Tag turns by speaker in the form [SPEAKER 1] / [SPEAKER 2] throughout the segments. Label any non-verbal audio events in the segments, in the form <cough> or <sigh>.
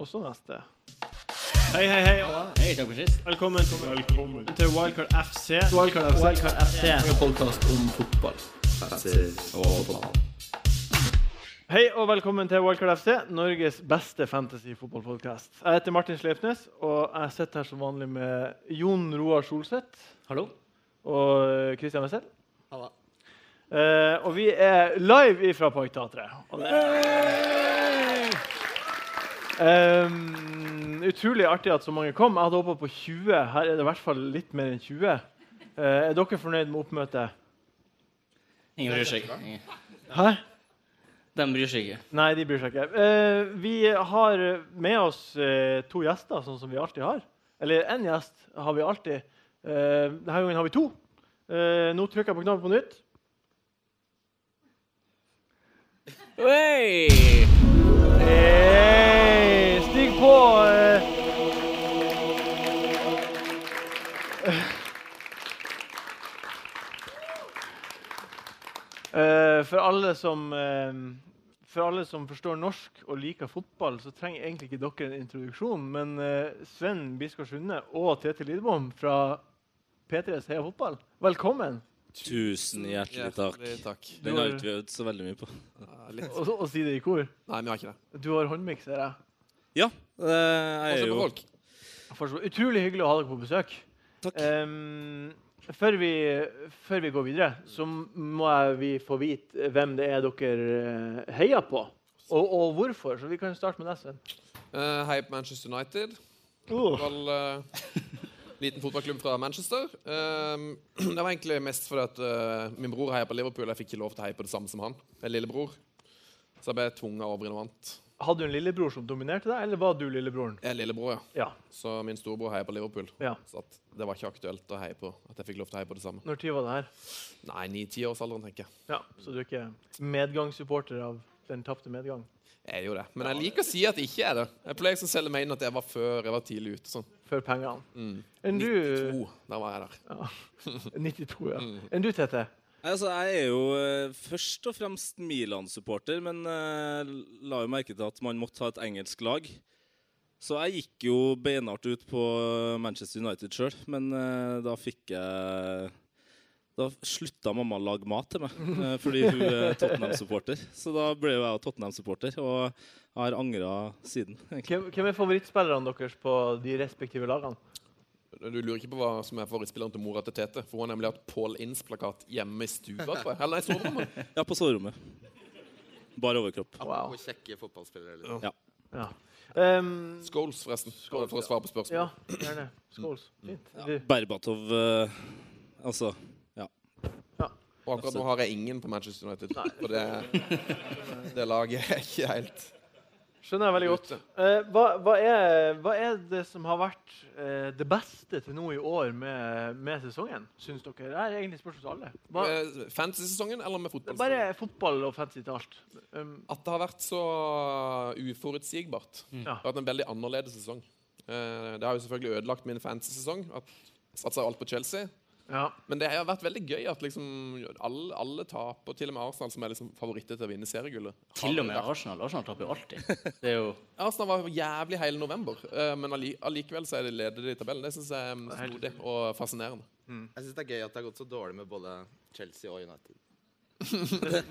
[SPEAKER 1] Og så neste. Hei, hei, hei. og
[SPEAKER 2] Hei, takk for sist.
[SPEAKER 1] Velkommen til Wildcard FC.
[SPEAKER 3] Wildcard FC.
[SPEAKER 1] Wildcard FC.
[SPEAKER 3] En podkast om fotball.
[SPEAKER 1] Hei og velkommen til Wildcard FC, Norges beste fantasy-fotballpodkast. Jeg heter Martin Sleipnes, og jeg sitter her som vanlig med Jon Roar Solseth
[SPEAKER 2] Hallo.
[SPEAKER 1] og Christian Wessel.
[SPEAKER 2] Halla.
[SPEAKER 1] Eh, og vi er live ifra Parkteatret. Og det Ehm, utrolig artig at så mange kom. Jeg hadde håpa på 20. Her er det i hvert fall litt mer enn 20. Eh, er dere fornøyd med oppmøtet?
[SPEAKER 2] Ingen bryr seg.
[SPEAKER 1] Hæ?
[SPEAKER 2] De bryr seg ikke.
[SPEAKER 1] Nei, de bryr seg ikke. Eh, vi har med oss eh, to gjester, sånn som vi alltid har. Eller én gjest har vi alltid. Eh, denne gangen har vi to. Eh, nå trykker jeg på knappen på nytt.
[SPEAKER 2] Oi!
[SPEAKER 1] Hey, stig på! eh. Eh, for, alle som, eh, for alle som forstår norsk og liker fotball, så trenger egentlig ikke dere en introduksjon, men eh, Sven Biskår Sunde og Tete Lidbom fra P3s Heia Fotball, velkommen!
[SPEAKER 4] Tusen hjertelig takk.
[SPEAKER 1] Du
[SPEAKER 4] Den har
[SPEAKER 1] har-
[SPEAKER 4] ikke vi øvd så veldig mye på.
[SPEAKER 3] Ja, litt.
[SPEAKER 1] Og, og si det i kor.
[SPEAKER 3] Nei, men jeg har ikke det.
[SPEAKER 1] Du har håndmiks, ser jeg.
[SPEAKER 4] Ja, eh, jeg er
[SPEAKER 3] Også på
[SPEAKER 4] jo
[SPEAKER 3] folk.
[SPEAKER 1] For så- Utrolig hyggelig å ha dere på besøk.
[SPEAKER 4] Takk.
[SPEAKER 1] Ehm, før, vi, før vi går videre, så må jeg- vi få vite hvem det er dere eh, heier på. Og, og hvorfor. Så vi kan starte med deg, Sven.
[SPEAKER 3] Eh, hei på Manchester United. Vel, eh, liten fotballklubb fra Manchester. Um, <clears throat> det var egentlig mest fordi at eh, min bror heier på Liverpool. Jeg fikk ikke lov til å heie på det samme som han. Jeg er lillebror. Så jeg ble tvunget over i noe annet.
[SPEAKER 1] Hadde du en lillebror som dominerte deg, eller var du lillebroren?
[SPEAKER 3] Jeg er lillebror, ja.
[SPEAKER 1] Ja.
[SPEAKER 3] Så min storebror heier på Liverpool.
[SPEAKER 1] ja.
[SPEAKER 3] Så at det var ikke aktuelt å heie på at jeg fikk lov til å heie på det samme.
[SPEAKER 1] Når tid var det her?
[SPEAKER 3] Nei, ni-tiårsalderen, tenker jeg.
[SPEAKER 1] Ja, Så du er ikke medgangssupporter av den tapte medgang?
[SPEAKER 3] Jeg er jo det. Men jeg liker å si at jeg ikke er det. Jeg pleier liksom å selge meg inn at jeg var før, jeg var tidlig ute. sånn.
[SPEAKER 1] Før pengene.
[SPEAKER 3] Mm.
[SPEAKER 1] Enn du
[SPEAKER 3] 92, da var jeg der.
[SPEAKER 1] 92, ja. Enn du, Tete?
[SPEAKER 4] Altså, jeg er jo eh, først og fremst Milan-supporter, men eh, la jo merke til at man måtte ha et engelsk lag. Så jeg gikk jo beinhardt ut på eh, Manchester United sjøl, men eh, da fikk jeg Da slutta mamma å lage mat til meg eh, fordi hun er Tottenham-supporter. Så da ble jo jeg Tottenham-supporter, og jeg har angra siden. egentlig.
[SPEAKER 1] Hvem, hvem er favorittspillerne deres på de respektive lagene?
[SPEAKER 3] Du lurer ikke på hva som er favorittspilleren til mora til Tete? For hun har nemlig hatt Paul Inns-plakat hjemme i stua. tror jeg. Eller nei, soverommet.
[SPEAKER 4] Ja, på soverommet. Bare overkropp.
[SPEAKER 1] Wow.
[SPEAKER 5] Og kjekke fotballspillere. Liksom.
[SPEAKER 1] Ja. Ehm,
[SPEAKER 3] Skåls, forresten.
[SPEAKER 1] Scholes,
[SPEAKER 3] for å svare på spørsmål.
[SPEAKER 1] ja, gjerne. Skåls. Fint. Du,
[SPEAKER 4] Berbatov eh, Altså
[SPEAKER 3] Og akkurat nå har jeg ingen på Manchester United. For det,
[SPEAKER 1] <laughs>
[SPEAKER 3] det laget er ikke helt
[SPEAKER 1] skjønner jeg veldig godt.
[SPEAKER 3] ute.
[SPEAKER 1] Eh, hva, hva, er, hva er det som har vært eh, det beste til nå i år med, med sesongen, syns dere? Det er egentlig et spørsmål til alle. Hva,
[SPEAKER 3] Med Eh, Fantasy-sesongen eller med
[SPEAKER 1] det er
[SPEAKER 3] fotball?
[SPEAKER 1] bare fotball og fancy til alt. Um,
[SPEAKER 3] At det har vært så uh, uforutsigbart. Det har vært en veldig annerledes sesong. Eh, Det har jo selvfølgelig ødelagt min fantasy-sesong. at jeg Satsa alt på Chelsea.
[SPEAKER 1] ja.
[SPEAKER 3] Men det har vært veldig gøy at liksom alle, alle taper, til og med Arsenal, som er liksom favoritter til å vinne seriegullet.
[SPEAKER 2] Til og med
[SPEAKER 3] Har-
[SPEAKER 2] Arsenal. Arsenal taper jo alltid. Det er jo
[SPEAKER 3] Arsenal var jævlig hele november, eh, men alli- allikevel så er de ledere i tabellen. Det syns jeg er
[SPEAKER 1] Helt
[SPEAKER 3] modig og fascinerende.
[SPEAKER 5] Jeg syns det er gøy at det har gått så dårlig med både Chelsea og United.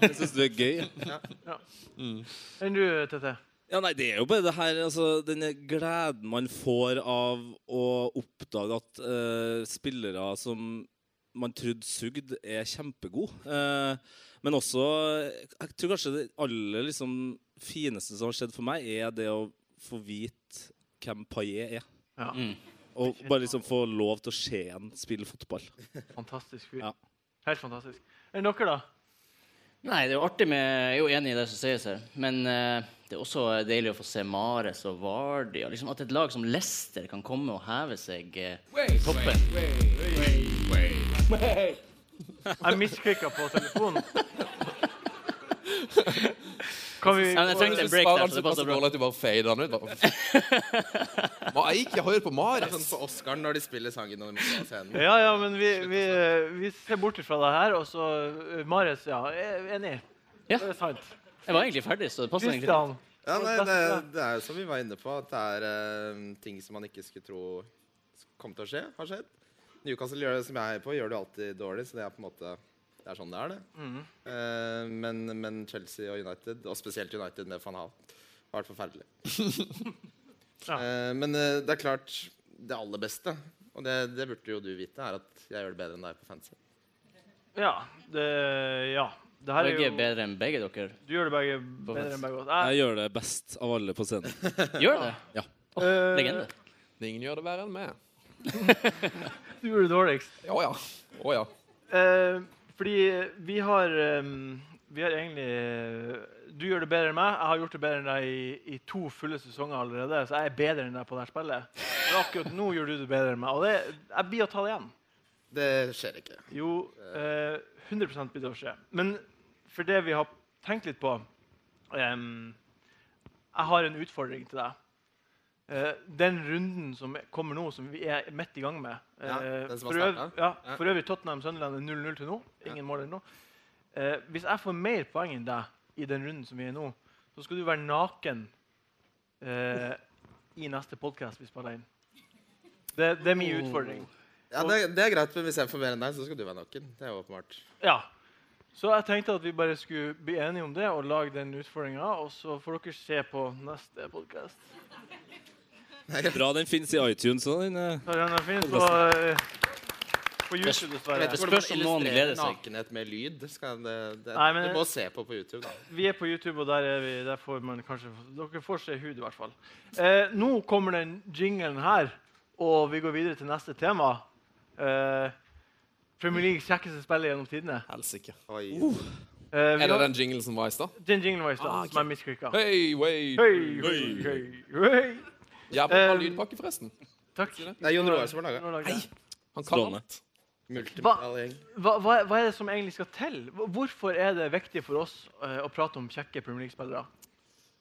[SPEAKER 4] Jeg syns du er gøy.
[SPEAKER 1] Enn du, Tete?
[SPEAKER 4] Ja, nei, det er jo bare det her altså, Denne gleden man får av å oppdage at eh, spillere som man trodde sugde, er kjempegode. Eh, men også Jeg tror kanskje det aller liksom, fineste som har skjedd for meg, er det å få vite hvem Paillet er.
[SPEAKER 1] Ja.
[SPEAKER 2] Mm.
[SPEAKER 4] Og bare liksom få lov til å se ham spille fotball.
[SPEAKER 1] Fantastisk fyr.
[SPEAKER 4] Ja.
[SPEAKER 1] Helt fantastisk. Enn dere, da?
[SPEAKER 2] <laughs> Nei, det er jo artig med Jeg er jo enig i det som sies her, men eh, det er også deilig å få se Mares og Vardi. Og liksom at et lag som Leicester kan komme og heve seg eh, i toppen.
[SPEAKER 1] Jeg misklikka på telefonen. Kan vi
[SPEAKER 2] Ja, men jeg trengte
[SPEAKER 3] liksom
[SPEAKER 2] en break der, så det passer bra.
[SPEAKER 3] dårlig at du bare fader den ut. Bare. Må jeg ikke høre på
[SPEAKER 5] Det er sånn
[SPEAKER 3] Marius?
[SPEAKER 5] på Oscaren når de spiller sangen og de må på scenen.
[SPEAKER 1] Ja, ja, men vi, vi, eh, vi ser bort fra det her, og så Marius, ja. jeg er Enig.
[SPEAKER 2] Ja.
[SPEAKER 1] Det er sant.
[SPEAKER 2] Jeg var egentlig ferdig, så det passer egentlig.
[SPEAKER 1] Kristian,
[SPEAKER 5] Ja, nei,
[SPEAKER 1] best
[SPEAKER 5] det,
[SPEAKER 1] med-
[SPEAKER 5] det er jo som vi var inne på, at det er eh, ting som man ikke skulle tro kom til å skje, har skjedd. Newcastle gjør det som jeg er på, gjør det alltid dårlig, så det er på en måte Det er sånn det er, det. Eh, men, men Chelsea og United, og spesielt United med van Hal, har vært forferdelig.
[SPEAKER 1] <laughs> Ja.
[SPEAKER 5] Eh, men eh, det er klart Det aller beste, og det, det burde jo du vite, er at jeg gjør det bedre enn deg på fancy.
[SPEAKER 1] Ja. Det, ja. Det her er
[SPEAKER 2] Begge er
[SPEAKER 1] jo,
[SPEAKER 2] bedre enn begge dere.
[SPEAKER 1] du gjør det begge
[SPEAKER 2] På
[SPEAKER 1] bedre
[SPEAKER 2] fest.
[SPEAKER 1] enn begge oss.
[SPEAKER 4] Jeg gjør det best av alle på scenen.
[SPEAKER 2] Gjør det?
[SPEAKER 4] Ja.
[SPEAKER 2] Åh,
[SPEAKER 1] Eh,
[SPEAKER 2] legende.
[SPEAKER 3] Ingen gjør det verre enn meg.
[SPEAKER 1] Jeg, du gjorde det dårligst.
[SPEAKER 3] Å ja. Å ja.
[SPEAKER 1] Eh, fordi vi har ehm, Vi har egentlig eh, Du gjør det bedre enn meg. Jeg har gjort det bedre enn deg i, i to fulle sesonger allerede. Så jeg er bedre enn deg på det her spillet. Men akkurat nå gjør du det bedre enn meg. Og det, jeg blir å ta det igjen.
[SPEAKER 5] Det skjer ikke.
[SPEAKER 1] Jo, eh, 100 blir det å skje. Men for det vi har tenkt litt på ehm, Jeg har en utfordring til deg. Eh, den runden som kommer nå, som vi er midt i gang med
[SPEAKER 5] Ja,
[SPEAKER 1] eh,
[SPEAKER 5] den som har
[SPEAKER 1] for, øvrig,
[SPEAKER 5] startet.
[SPEAKER 1] ja,
[SPEAKER 5] Ja.
[SPEAKER 1] for øvrig Tottenham-Sunderland er 0-0 til nå. Ingen mål ennå. Eh, hvis jeg får mer poeng enn deg i den runden som vi er i nå, så skal du være naken eh, i neste podkast vi spiller inn. Det, det er
[SPEAKER 5] Oh.
[SPEAKER 1] min utfordring.
[SPEAKER 5] Ja, det, det er greit, men hvis jeg får mer enn deg, så skal du være naken. Det er jo åpenbart.
[SPEAKER 1] Ja. Så jeg tenkte at vi bare skulle bli enige om det og lage den utfordringa. Og så får dere se på neste podkast.
[SPEAKER 4] Bra den finnes i iTunes og den eh,
[SPEAKER 1] Den er fin på, eh, på YouTube, dessverre.
[SPEAKER 2] Det spørs om noen gleder seg.
[SPEAKER 5] Nakenhet med lyd skal det, det,
[SPEAKER 1] Nei, men-
[SPEAKER 5] Du må se på på YouTube. Da.
[SPEAKER 1] Vi er på YouTube, og der, er vi, der får man kanskje Dere får se hud, i hvert fall. Eh, nå kommer den jinglen her, og vi går videre til neste tema. Eh, Premier League kjekkeste spillet gjennom tidene.
[SPEAKER 3] Helsike.
[SPEAKER 5] Oi.
[SPEAKER 1] Eh, vi
[SPEAKER 3] Er det
[SPEAKER 1] har-
[SPEAKER 3] den jinglen som var i stad?
[SPEAKER 1] den jinglen var i stad,
[SPEAKER 3] Ah, ok.
[SPEAKER 1] som jeg misklikka.
[SPEAKER 3] Hei, wei.
[SPEAKER 1] Hei, hei, hei, hei.
[SPEAKER 3] Jævla bra
[SPEAKER 1] Eh,
[SPEAKER 3] lydpakke, forresten.
[SPEAKER 1] Takk.
[SPEAKER 5] Det er Jon Roar som har laga.
[SPEAKER 1] Nå lager jeg.
[SPEAKER 3] Han kan
[SPEAKER 4] strålende.
[SPEAKER 3] alt.
[SPEAKER 5] Multimedial gjeng.
[SPEAKER 1] Hva, hva, hva er det som egentlig skal til? Hva- Hvorfor er det viktig for oss eh, å prate om kjekke Premier League-spillere?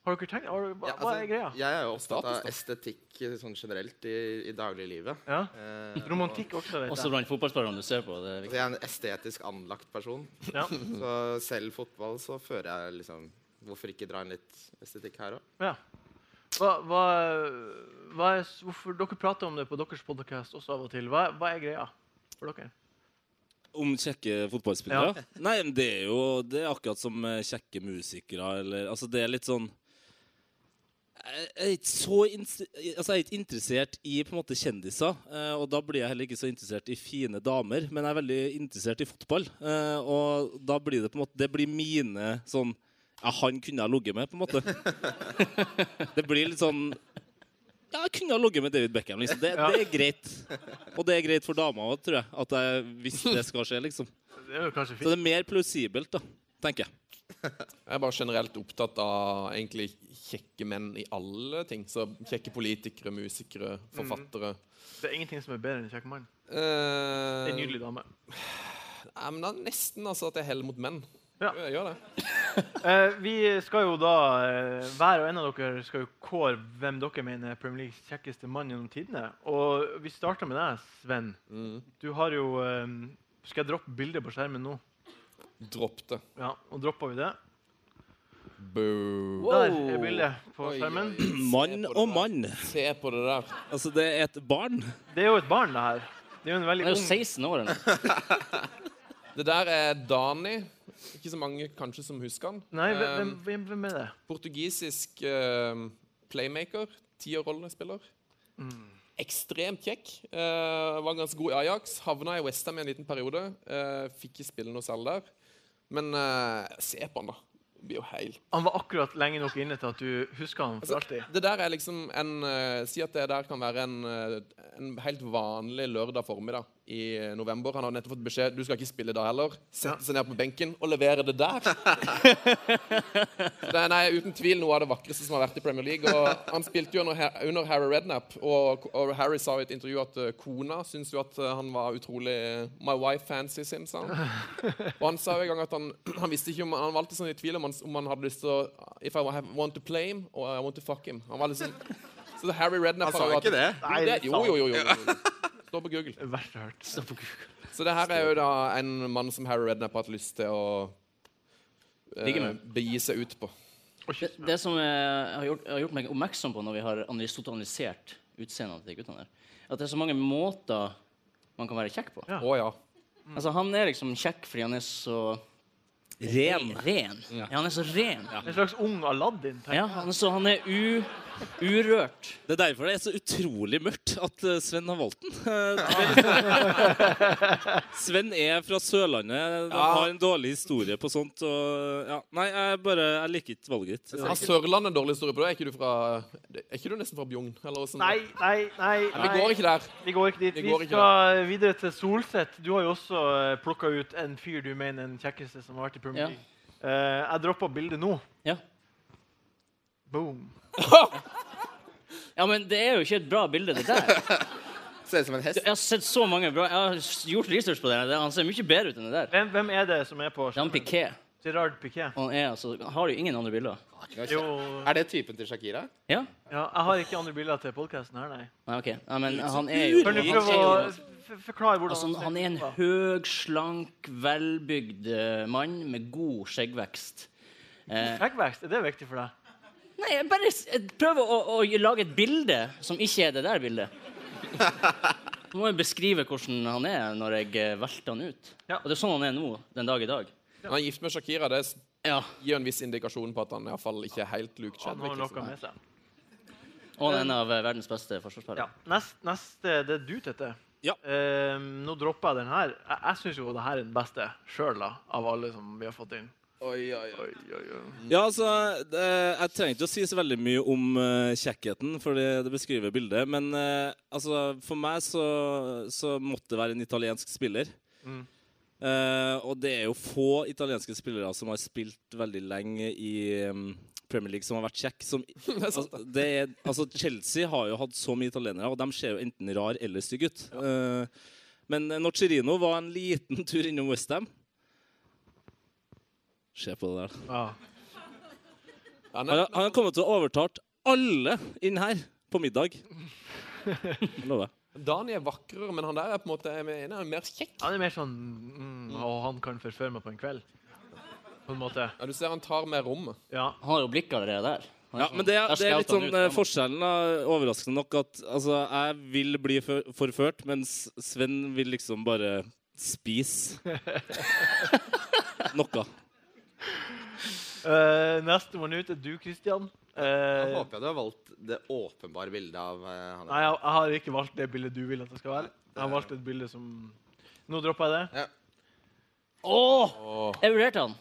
[SPEAKER 1] Har dere tenkt? Har, dere- hva,
[SPEAKER 5] Ja,
[SPEAKER 1] hva er
[SPEAKER 5] altså,
[SPEAKER 1] greia?
[SPEAKER 5] jeg er jo opptatt
[SPEAKER 3] Status,
[SPEAKER 5] av
[SPEAKER 3] da.
[SPEAKER 5] estetikk eh, sånn generelt i, i dagliglivet.
[SPEAKER 1] Ja?
[SPEAKER 5] Eh,
[SPEAKER 1] Romantikk også, vet
[SPEAKER 2] Også
[SPEAKER 1] jeg.
[SPEAKER 2] blant fotballspillerne du ser på. Det er
[SPEAKER 5] og- altså,
[SPEAKER 2] viktig.
[SPEAKER 5] jeg er en estetisk anlagt person.
[SPEAKER 1] Ja.
[SPEAKER 5] <laughs> Så selv fotball så fører jeg liksom Hvorfor ikke dra inn litt estetikk her òg?
[SPEAKER 1] Ja. Hva, hva, hva er, s- hvorfor dere prater om det på deres podcast også av og til. Hva, hva er greia for dere?
[SPEAKER 4] Om kjekke fotballspillere? Nei, men det er jo det er akkurat som eh, kjekke musikere, eller Altså, det er litt sånn Jeg jeg er ikke så ins- altså, jeg er ikke interessert i på en måte kjendiser, eh, og da blir jeg heller ikke så interessert i fine damer, men jeg er veldig interessert i fotball. eh, Og da blir det på en måte Det blir mine sånn Ja, han kunne jeg ligget med, på en måte. Det blir litt sånn ja, jeg kunne ha ligget med David Beckham. liksom. Det, det er greit. Og det er greit for dama òg, tror jeg. At jeg, hvis det skal skje, liksom.
[SPEAKER 1] Det er jo kanskje
[SPEAKER 4] Så
[SPEAKER 1] fint.
[SPEAKER 4] det er mer plausibelt, da, tenker jeg.
[SPEAKER 3] Jeg er bare generelt opptatt av egentlig kjekke menn i alle ting. Så kjekke politikere, musikere, forfattere.
[SPEAKER 1] Det er ingenting som er bedre enn en kjekk mann.
[SPEAKER 3] Eh,
[SPEAKER 1] Det er En nydelig dame.
[SPEAKER 3] ja, men det er nesten altså at jeg heller mot menn.
[SPEAKER 1] Ja.
[SPEAKER 3] Jo, Jeg gjør det.
[SPEAKER 1] Eh, vi skal jo da, eh, hver og en av dere skal jo kåre hvem dere mener er Premier Leagues kjekkeste mann gjennom tidene. Og vi starter med deg, Sven.
[SPEAKER 3] Mm.
[SPEAKER 1] Du har jo eh, Skal jeg droppe bildet på skjermen nå?
[SPEAKER 3] Dropp det.
[SPEAKER 1] Ja, og dropper vi det.
[SPEAKER 3] Boo.
[SPEAKER 1] Der er bildet på
[SPEAKER 3] Oi,
[SPEAKER 1] skjermen.
[SPEAKER 3] oi, oi.
[SPEAKER 4] Mann og mann.
[SPEAKER 3] Se på det der. Se på det der.
[SPEAKER 4] Altså, det er et barn.
[SPEAKER 1] Det er jo et barn, det her. Det er jo en veldig
[SPEAKER 2] Han er jo
[SPEAKER 1] ung
[SPEAKER 2] 16 år ennå.
[SPEAKER 3] Det der er Dani. Ikke så mange kanskje som husker han.
[SPEAKER 1] Nei, hvem,
[SPEAKER 3] Eh,
[SPEAKER 1] hvem- hvem, hvem er det?
[SPEAKER 3] Portugisisk eh, playmaker. Tiårrollespiller.
[SPEAKER 1] Mm.
[SPEAKER 3] Ekstremt kjekk. eh, var ganske god i Ajax. Havna i Westham i en liten periode. eh, fikk ikke spille noe særlig der. Men eh, se på han, da. Det Blir jo helt
[SPEAKER 1] Han var akkurat lenge nok inne til at du husker han for alltid.
[SPEAKER 3] Altså, Det der er liksom en eh, Si at det der kan være en, eh, en helt vanlig lørdag formiddag i november. Han har nettopp fått beskjed du skal ikke spille da heller. Sette seg ned på benken og levere det der. det er nei, uten tvil noe av det vakreste som har vært i Premier League. Og han spilte jo under, Ha- under Harry Redknapp, og, og Harry sa i et intervju at eh, kona syntes jo at eh, han var utrolig My wife fancies him, sa han. Og han sa jo en gang at han, <clears throat> han visste ikke om Han var alltid sånn i tvil om han, om han hadde lyst til å If I have- want to play him, or I want to fuck him. Han var liksom Så det Harry Redknapp
[SPEAKER 5] Han sa
[SPEAKER 3] jo
[SPEAKER 5] jo ikke det.
[SPEAKER 1] Nei,
[SPEAKER 3] Jo, det,
[SPEAKER 1] det sa
[SPEAKER 3] jo, jo, jo, jo, jo. Står på Google.
[SPEAKER 1] Det verste jeg har hørt.
[SPEAKER 3] Så det her er jo da en mann som Harry Redknapp har hatt lyst til å eh,
[SPEAKER 2] Ligge med.
[SPEAKER 3] begi seg ut på.
[SPEAKER 2] Det, det som jeg har gjort, jeg har gjort meg oppmerksom på når vi har analys- stått og analysert utseendet til de guttene der, at det er så mange måter man kan være kjekk på.
[SPEAKER 1] Ja.
[SPEAKER 3] Å ja.
[SPEAKER 2] Altså, han er liksom kjekk fordi han er så
[SPEAKER 4] Ren.
[SPEAKER 2] ren. Ja, han er så ren. Ja.
[SPEAKER 1] En slags ung Aladdin. tenker
[SPEAKER 2] han, er så han er u, urørt.
[SPEAKER 4] Det er derfor det er så utrolig mørkt at eh, Sven har valgt den. <laughs> Eh, Sven er fra Sørlandet. De har en dårlig historie på sånt. Og, ja. Nei, jeg bare Jeg liker ikke valget ditt.
[SPEAKER 3] Har Sørlandet en dårlig historie på det? Er ikke du, fra, er ikke du nesten fra Bjugn? eller hvordan-
[SPEAKER 1] Nei, nei, nei.
[SPEAKER 3] Vi går ikke der.
[SPEAKER 1] Vi går ikke dit.
[SPEAKER 3] Vi
[SPEAKER 1] Vi
[SPEAKER 3] går ikke
[SPEAKER 1] skal videre til Solseth. Du har jo også plukka ut en fyr du mener er den kjekkeste som har vært i Premier
[SPEAKER 2] Ja.
[SPEAKER 1] League. Eh, jeg droppa bildet nå.
[SPEAKER 2] Ja.
[SPEAKER 1] Boom.
[SPEAKER 2] ja, men det er jo ikke et bra bilde, det der.
[SPEAKER 5] Ser ut som en hest.
[SPEAKER 2] Jeg har sett så mange bra Jeg har gjort research på det. her. Han ser mye bedre ut enn det der.
[SPEAKER 1] Hvem, hvem er det som er på
[SPEAKER 2] Det er han Piqué.
[SPEAKER 1] Gerard Piqué.
[SPEAKER 2] Og han er altså Han har jo ingen andre bilder.
[SPEAKER 1] Jo
[SPEAKER 5] Er det typen til Shakira?
[SPEAKER 2] Ja?
[SPEAKER 1] ja, Jeg har ikke andre bilder til podkasten her, nei.
[SPEAKER 2] Nei, OK. Nei, men han er jo
[SPEAKER 1] Kan du
[SPEAKER 2] han er
[SPEAKER 1] prøve å
[SPEAKER 2] jo-
[SPEAKER 1] f- forklare hvordan
[SPEAKER 2] Altså, han- han er en
[SPEAKER 1] ser ut?
[SPEAKER 2] høg, slank, velbygd eh, mann med god skjeggvekst.
[SPEAKER 1] Skjeggvekst, er det viktig for deg?
[SPEAKER 2] Nei, jeg bare s- jeg prøver å, å lage et bilde som ikke er det der bildet. Nå må jeg beskrive hvordan han er når jeg eh, velter han ut.
[SPEAKER 1] Ja.
[SPEAKER 2] Og det er sånn han er nå, den dag i dag.
[SPEAKER 3] Han er gift med Shakira. Det s-
[SPEAKER 2] Ja,
[SPEAKER 3] gir en viss indikasjon på at han i hvert fall ikke er helt Luke
[SPEAKER 1] Han
[SPEAKER 3] Chadwick.
[SPEAKER 1] har noe
[SPEAKER 3] Liksom.
[SPEAKER 1] med seg.
[SPEAKER 2] Og han er en av eh, verdens beste forsvarsspillere.
[SPEAKER 1] Ja. Nest, neste det er du, Tete.
[SPEAKER 4] Ja.
[SPEAKER 1] Eh, nå dropper jeg den her. Jeg, jeg syns jo det her er den beste sjøl, da. Av alle som vi har fått inn.
[SPEAKER 5] Oi, oi, oi.
[SPEAKER 1] Oi, oi, oi.
[SPEAKER 4] Ja, altså, det, jeg trenger ikke å si så veldig mye om eh, kjekkheten, for det beskriver bildet. Men eh, altså, for meg så, så måtte det være en italiensk spiller. Eh, og det er jo få italienske spillere som har spilt veldig lenge i eh, Premier League som har vært kjekk. Som, altså, <laughs> det er, altså, Chelsea har jo hatt så mye italienere, og de ser jo enten rar eller stygg ut. Eh, men eh, Nocerino var en liten tur innom Westham. Se på det der.
[SPEAKER 1] Ja.
[SPEAKER 4] Han
[SPEAKER 3] Han er,
[SPEAKER 4] har- han har kommet til å overtalt alle inn her på <laughs> middag. Jeg lover.
[SPEAKER 3] Dani er vakrere, men han der er på en måte jeg mener, han er mer kjekk.
[SPEAKER 1] Han er mer sånn mm, Og han kan forføre meg på en kveld. På en måte.
[SPEAKER 3] Ja, du ser han tar mer rom.
[SPEAKER 1] Ja.
[SPEAKER 2] Han har jo blikk allerede der. Han er
[SPEAKER 4] Ja,
[SPEAKER 2] sånn-
[SPEAKER 4] men det, er-
[SPEAKER 2] der
[SPEAKER 4] det er litt
[SPEAKER 2] skauter han
[SPEAKER 4] sånn
[SPEAKER 2] ut,
[SPEAKER 4] eh,
[SPEAKER 2] ja.
[SPEAKER 4] forskjellen, da, overraskende nok, at altså, jeg vil bli for- forført, mens Sven vil liksom bare <laughs> spise noe.
[SPEAKER 1] Eh, neste mann ut er du, Christian. Eh,
[SPEAKER 5] Da
[SPEAKER 1] nei,
[SPEAKER 5] håper jeg du har valgt det åpenbare bildet av eh, han.
[SPEAKER 1] jeg, jeg har ikke valgt det bildet du vil at det skal være. Jeg har valgt et bilde som Nå dropper jeg det.
[SPEAKER 2] Åh! Jeg vurderte han.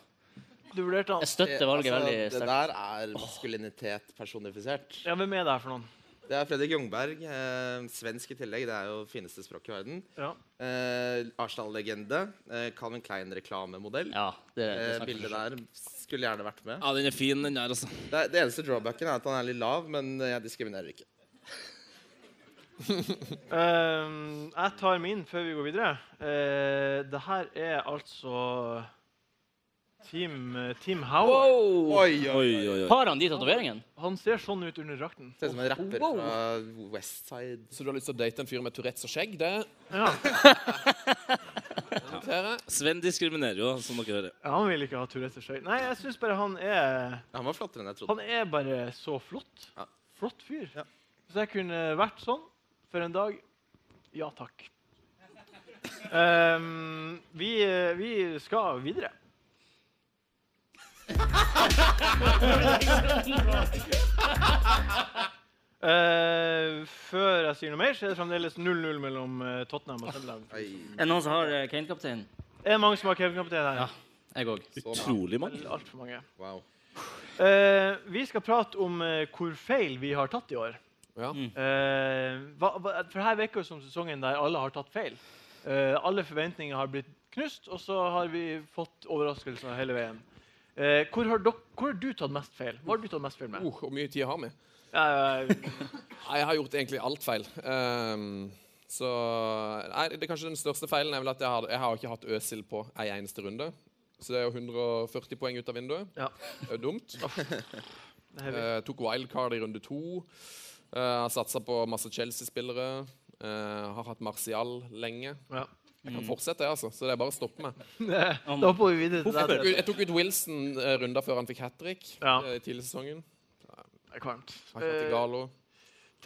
[SPEAKER 1] Du vurderte
[SPEAKER 2] Jeg
[SPEAKER 1] han.
[SPEAKER 2] støtter valget
[SPEAKER 5] Altså,
[SPEAKER 2] veldig
[SPEAKER 5] Det
[SPEAKER 2] sterkt.
[SPEAKER 5] der er maskulinitet personifisert.
[SPEAKER 1] Ja, hvem er det her for noen?
[SPEAKER 5] Det er Fredrik Jungberg. Eh, svensk i tillegg. Det er jo fineste språket i verden.
[SPEAKER 1] Ja.
[SPEAKER 5] Eh, Arsenal-legende. Eh, Calvin Klein-reklamemodell.
[SPEAKER 2] Ja, det, det
[SPEAKER 5] Eh,
[SPEAKER 2] snakker
[SPEAKER 5] bildet
[SPEAKER 2] for seg.
[SPEAKER 5] der skulle gjerne vært med.
[SPEAKER 4] Ja, den er fin, den der, altså.
[SPEAKER 5] Det, er- det eneste drawbacken er at han er litt lav, men jeg diskriminerer ikke.
[SPEAKER 1] Eh, jeg tar min før vi går videre. Uh, det her er altså Team, eh, Team Howard.
[SPEAKER 5] Oi, oi.
[SPEAKER 4] Oi, oi, oi.
[SPEAKER 2] Har han de tatoveringene?
[SPEAKER 1] Han ser sånn ut under drakten.
[SPEAKER 5] Ser ut som en rapper fra Westside.
[SPEAKER 3] Så du har lyst til å date en fyr med Tourettes og skjegg? Det <laughs>
[SPEAKER 1] Ja.
[SPEAKER 3] noterer jeg.
[SPEAKER 4] Sven diskriminerer jo, som dere hører.
[SPEAKER 1] Han vil ikke ha Tourettes og skjegg. Nei, jeg syns bare han er
[SPEAKER 5] Han var flottere enn jeg trodde.
[SPEAKER 1] Han er bare så flott.
[SPEAKER 5] Ja.
[SPEAKER 1] Flott fyr.
[SPEAKER 5] Ja.
[SPEAKER 1] Hvis jeg kunne vært sånn for en dag Ja
[SPEAKER 5] <laughs>
[SPEAKER 1] takk. Ehm, vi, vi skal
[SPEAKER 5] <laughs>
[SPEAKER 1] videre. Eh, før jeg sier noe mer, så er det fremdeles 0-0 mellom eh, Tottenham og Sunderland.
[SPEAKER 5] Oi,
[SPEAKER 2] Er det noen som har eh, Kane-kapteinen?
[SPEAKER 1] Er det mange som har Kevin-kaptein her?
[SPEAKER 2] Ja. Jeg òg.
[SPEAKER 5] så bra.
[SPEAKER 4] Utrolig mange.
[SPEAKER 1] Altfor mange.
[SPEAKER 5] Wow.
[SPEAKER 1] Eh, vi skal prate om eh, hvor feil vi har tatt i år.
[SPEAKER 3] Ja.
[SPEAKER 1] Eh, hva, hva, for her virker det som sesongen der alle har tatt feil. Eh, alle forventninger har blitt knust, og så har vi fått overraskelser hele veien. Eh, hvor, har dok hvor har du tatt mest feil? Hva har du tatt mest feil med?
[SPEAKER 3] Uh, hvor mye tid har vi?
[SPEAKER 1] Eh,
[SPEAKER 3] Nei, Jeg har gjort egentlig alt feil. Ehm, så nei, det er kanskje Den største feilen er vel at jeg har, jeg har ikke hatt Øsil på ei eneste runde. Så det er jo 140 poeng ut av vinduet.
[SPEAKER 1] <laughs> ja.
[SPEAKER 3] Det er jo dumt.
[SPEAKER 1] det er vi.
[SPEAKER 3] Eh, tok wildcard i runde to. Eh, har satsa på masse Chelsea-spillere. Eh, har hatt Martial lenge.
[SPEAKER 1] ja.
[SPEAKER 3] Jeg kan fortsette, jeg, altså. Så det er bare å stoppe meg.
[SPEAKER 1] <laughs> Da hopper vi videre til deg. Tete.
[SPEAKER 3] Jeg tok ut Wilson eh, runder før han fikk hat trick eh,
[SPEAKER 1] Ja.
[SPEAKER 3] i tidligere i sesongen.
[SPEAKER 1] Det er Kvalmt.
[SPEAKER 3] Han kom til
[SPEAKER 1] Eh,
[SPEAKER 3] Galo.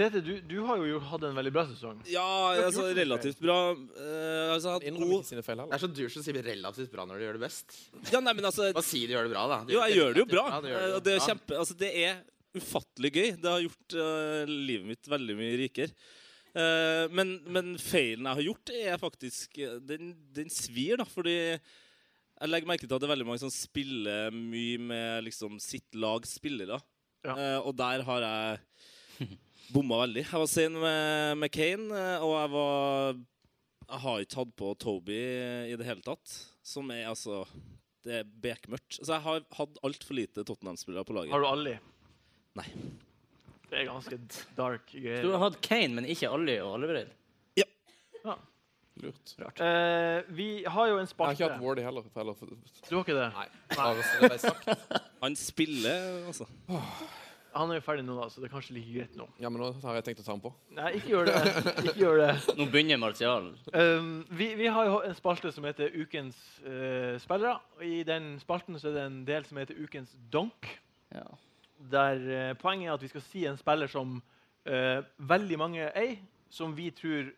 [SPEAKER 1] Tete, du, du har jo hatt en veldig bra sesong.
[SPEAKER 4] Ja, altså relativt bra. Eh, altså, jeg har hatt
[SPEAKER 3] Innrømmer
[SPEAKER 4] god
[SPEAKER 3] ikke sine feil
[SPEAKER 5] Det
[SPEAKER 3] heller.
[SPEAKER 5] er så dusj å si relativt bra når du gjør det best.
[SPEAKER 4] Ja, nei, men altså
[SPEAKER 5] Bare si du gjør det bra, da. Du
[SPEAKER 4] Jo, jeg gjør det jo bra.
[SPEAKER 5] Ja, du gjør det
[SPEAKER 4] Eh,
[SPEAKER 5] jo
[SPEAKER 4] Det er
[SPEAKER 5] bra.
[SPEAKER 4] kjempe... Altså, det er ufattelig gøy. Det har gjort eh, livet mitt veldig mye rikere. Eh, men, men feilen jeg har gjort, er faktisk eh, Den, den svir, da, fordi jeg legger merke til at det er veldig mange som spiller mye med liksom, sitt lags spillere.
[SPEAKER 1] Ja.
[SPEAKER 4] Eh, og der har jeg bomma veldig. Jeg var sen med, med Kane, eh, og jeg var Jeg har ikke hatt på Toby i det hele tatt, som er altså det er bekmørkt. Så jeg har hatt altfor lite Tottenham-spillere på laget.
[SPEAKER 1] Har du Ali?
[SPEAKER 4] Nei.
[SPEAKER 1] Det er ganske dark
[SPEAKER 2] Du
[SPEAKER 1] greier.
[SPEAKER 2] har hatt Kane, men ikke Ali og Alvred.
[SPEAKER 3] Lurt. Jeg
[SPEAKER 1] Eh, vi har jo en
[SPEAKER 3] har ikke
[SPEAKER 1] spalte.
[SPEAKER 3] hatt Wardy heller. for- eller for-
[SPEAKER 1] Du har ikke det?
[SPEAKER 3] Nei. Bare så det ble sagt.
[SPEAKER 4] Han spiller, altså.
[SPEAKER 1] Han er jo ferdig nå, da, så det er kanskje like greit nå.
[SPEAKER 3] Ja, men nå har jeg tenkt å ta ham på.
[SPEAKER 1] Nei, ikke gjør <laughs> det. Ikke gjør det.
[SPEAKER 2] Nå begynner Martial.
[SPEAKER 1] Um, vi, vi har jo en spalte som heter Ukens eh, spillere. og I den spalten så er det en del som heter Ukens donk.
[SPEAKER 2] Ja.
[SPEAKER 1] Der eh, poenget er at vi skal si en spiller som eh, veldig mange eier, som vi tror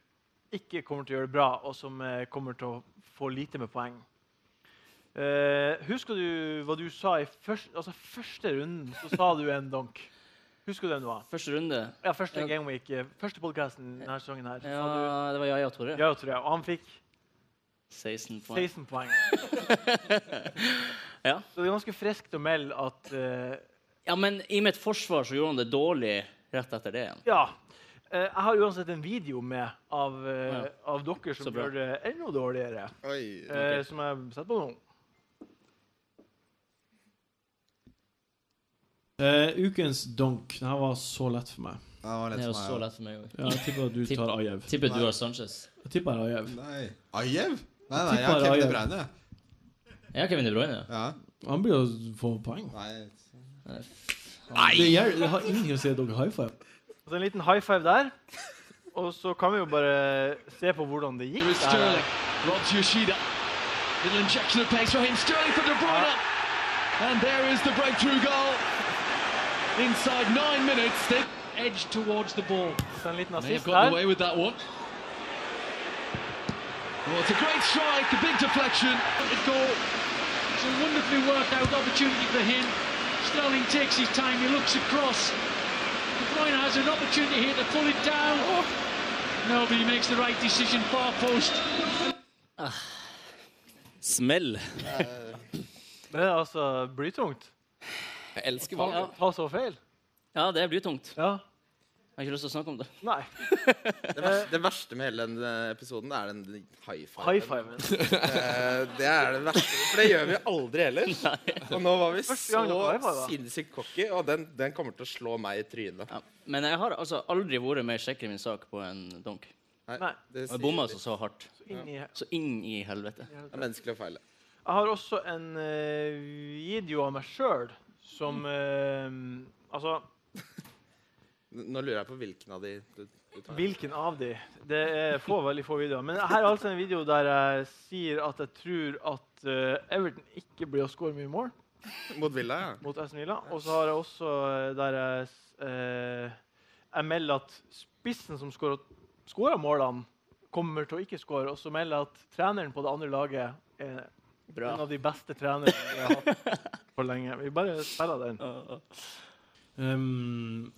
[SPEAKER 1] ikke kommer til å gjøre det bra, og som eh, kommer til å få lite med poeng. Eh, husker du hva du sa i først, altså første runden? Så sa du en donk. Husker du hvem det var?
[SPEAKER 2] Første runde.
[SPEAKER 1] Ja, første
[SPEAKER 2] Ja.
[SPEAKER 1] Gameweek, eh, første podkasten denne sesongen her.
[SPEAKER 2] Ja,
[SPEAKER 1] Sa
[SPEAKER 2] det var Yaya
[SPEAKER 1] du,
[SPEAKER 2] Tore.
[SPEAKER 1] ja, tror jeg. Og han fikk
[SPEAKER 2] 16 poeng.
[SPEAKER 1] 16 poeng.
[SPEAKER 2] <laughs> Ja.
[SPEAKER 1] Så det er ganske friskt å melde at eh,
[SPEAKER 2] Ja, men i mitt forsvar så gjorde han det dårlig rett etter det igjen.
[SPEAKER 1] Ja. Eh, jeg har uansett en video med av, eh,
[SPEAKER 2] Ja.
[SPEAKER 1] av dere som
[SPEAKER 2] Så bra.
[SPEAKER 1] gjør det enda dårligere.
[SPEAKER 5] Oi.
[SPEAKER 1] eh, som jeg setter på nå.
[SPEAKER 6] Eh, ukens donk. Det her var så lett for meg.
[SPEAKER 7] Det var
[SPEAKER 2] Det
[SPEAKER 7] lett
[SPEAKER 2] er jo
[SPEAKER 7] for
[SPEAKER 2] så
[SPEAKER 7] meg.
[SPEAKER 2] lett for meg òg.
[SPEAKER 6] Ja, jeg tipper at du
[SPEAKER 2] Tipp-
[SPEAKER 6] tar Ajev.
[SPEAKER 2] Tipper du har Sanchez.
[SPEAKER 6] Jeg tipper Ajev.
[SPEAKER 7] ja. Nei. Ajev? Nei, nei,
[SPEAKER 6] Jeg
[SPEAKER 7] jeg
[SPEAKER 6] tipper
[SPEAKER 7] har Kevin De
[SPEAKER 6] Ajev.
[SPEAKER 7] Bruyne.
[SPEAKER 2] Jeg har Kevin De Bruyne.
[SPEAKER 7] Ja.
[SPEAKER 6] Han blir å få poeng.
[SPEAKER 7] Nei.
[SPEAKER 6] Det, gjør, det har ingenting å si at dere high five.
[SPEAKER 1] Og så en liten high five der. Og så kan vi jo bare se på hvordan det gikk. Der.
[SPEAKER 8] Rods Yoshida. Little injection of pace for him. Sterling for De Bruyne. And there is the breakthrough goal. Inside nine minutes, they edged towards the ball.
[SPEAKER 1] Så en liten
[SPEAKER 8] May have
[SPEAKER 1] assist
[SPEAKER 8] gotten
[SPEAKER 1] der.
[SPEAKER 8] away with that one. Well, it's a great strike, a big deflection. Good goal. It's a wonderfully worked out opportunity for him. Sterling takes his time, he looks across. De Bruyne has an opportunity here to pull it down. No, but he makes the right decision, far post.
[SPEAKER 4] Smell.
[SPEAKER 1] Det er altså blytungt.
[SPEAKER 3] Jeg elsker
[SPEAKER 1] Ta,
[SPEAKER 3] valget.
[SPEAKER 1] ta så feil.
[SPEAKER 2] Ja, det blir tungt.
[SPEAKER 1] Ja.
[SPEAKER 2] Jeg har ikke lyst til å snakke om det.
[SPEAKER 1] Nei.
[SPEAKER 5] Det, verste, det verste med hele den eh, episoden er den high five.
[SPEAKER 1] High five.
[SPEAKER 5] Det er det verste. For det gjør vi aldri ellers. Og nå var vi
[SPEAKER 1] Første gang dere high
[SPEAKER 5] så
[SPEAKER 1] five, da.
[SPEAKER 5] sinnssykt cocky, og den, den kommer til å slå meg i trynet.
[SPEAKER 2] Ja. Men jeg har altså aldri vært mer sikker i min sak på en donk.
[SPEAKER 1] Nei.
[SPEAKER 2] Og
[SPEAKER 5] det
[SPEAKER 2] jeg
[SPEAKER 5] sier
[SPEAKER 2] bomma
[SPEAKER 5] litt.
[SPEAKER 2] altså så hardt.
[SPEAKER 1] Inn i
[SPEAKER 2] Så inn i helvete.
[SPEAKER 5] Det er menneskelig å feile.
[SPEAKER 1] Jeg har også en eh, video av meg sjøl som eh, Altså,
[SPEAKER 5] Nå lurer jeg på hvilken av de du, du tar.
[SPEAKER 1] hvilken av de? Det er få, veldig få videoer. Men her er altså en video der jeg sier at jeg tror at eh, Everton ikke blir å score mye mål
[SPEAKER 5] Mot Villa, ja.
[SPEAKER 1] mot Aston Villa. Og så har jeg også eh, der jeg, s- eh, jeg melder at spissen som skårer skårer målene, kommer til å ikke skåre. Og så melder jeg at treneren på det andre laget er
[SPEAKER 2] Bra.
[SPEAKER 1] en av de beste trenerne vi har hatt på lenge. Vi bare spiller den.
[SPEAKER 6] Um,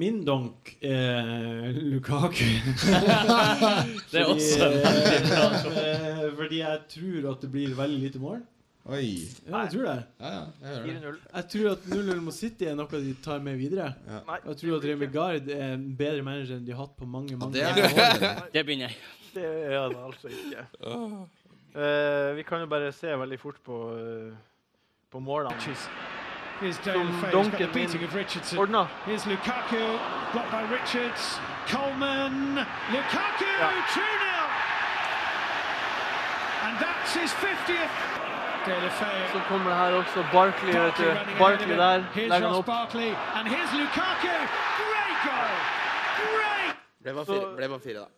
[SPEAKER 6] min donk er Lukaku.
[SPEAKER 8] <laughs>
[SPEAKER 2] Det er også
[SPEAKER 6] Eh, fordi jeg tror at det blir veldig lite mål.
[SPEAKER 7] Oi.
[SPEAKER 6] Ja, jeg tror det.
[SPEAKER 7] Ja, ja. Jeg hører det.
[SPEAKER 1] 4-0.
[SPEAKER 6] Jeg tror at 0-0 mot City er noe de tar med videre.
[SPEAKER 1] Nei,
[SPEAKER 6] Jeg tror at Remi Gard er en bedre manager enn de har hatt på mange
[SPEAKER 7] Ja,
[SPEAKER 6] mange
[SPEAKER 7] det
[SPEAKER 6] år.
[SPEAKER 7] er håret.
[SPEAKER 2] Det begynner jeg.
[SPEAKER 1] det er det altså ikke. Eh, vi kan jo bare se veldig fort på, eh, på målene.
[SPEAKER 8] Here's Dale
[SPEAKER 1] From
[SPEAKER 8] Faye, he's got the
[SPEAKER 1] Duncan
[SPEAKER 8] beating
[SPEAKER 1] in.
[SPEAKER 8] of Richardson.
[SPEAKER 1] Ordna.
[SPEAKER 8] Here's Lukaku, blocked by Richards. Coleman, Lukaku, 2 0. And that's his 50th. Dale
[SPEAKER 1] Så
[SPEAKER 8] Faye.
[SPEAKER 1] kommer det her også. Barkley, vet
[SPEAKER 8] Barkley
[SPEAKER 1] du. eh, Barkley
[SPEAKER 8] running ahead
[SPEAKER 1] der.
[SPEAKER 8] of him. Here's
[SPEAKER 1] Legger han
[SPEAKER 8] Ross
[SPEAKER 1] opp.
[SPEAKER 8] Barkley, and here's Lukaku. Great goal! Great!
[SPEAKER 5] Ble bare fire, ble bare fire da.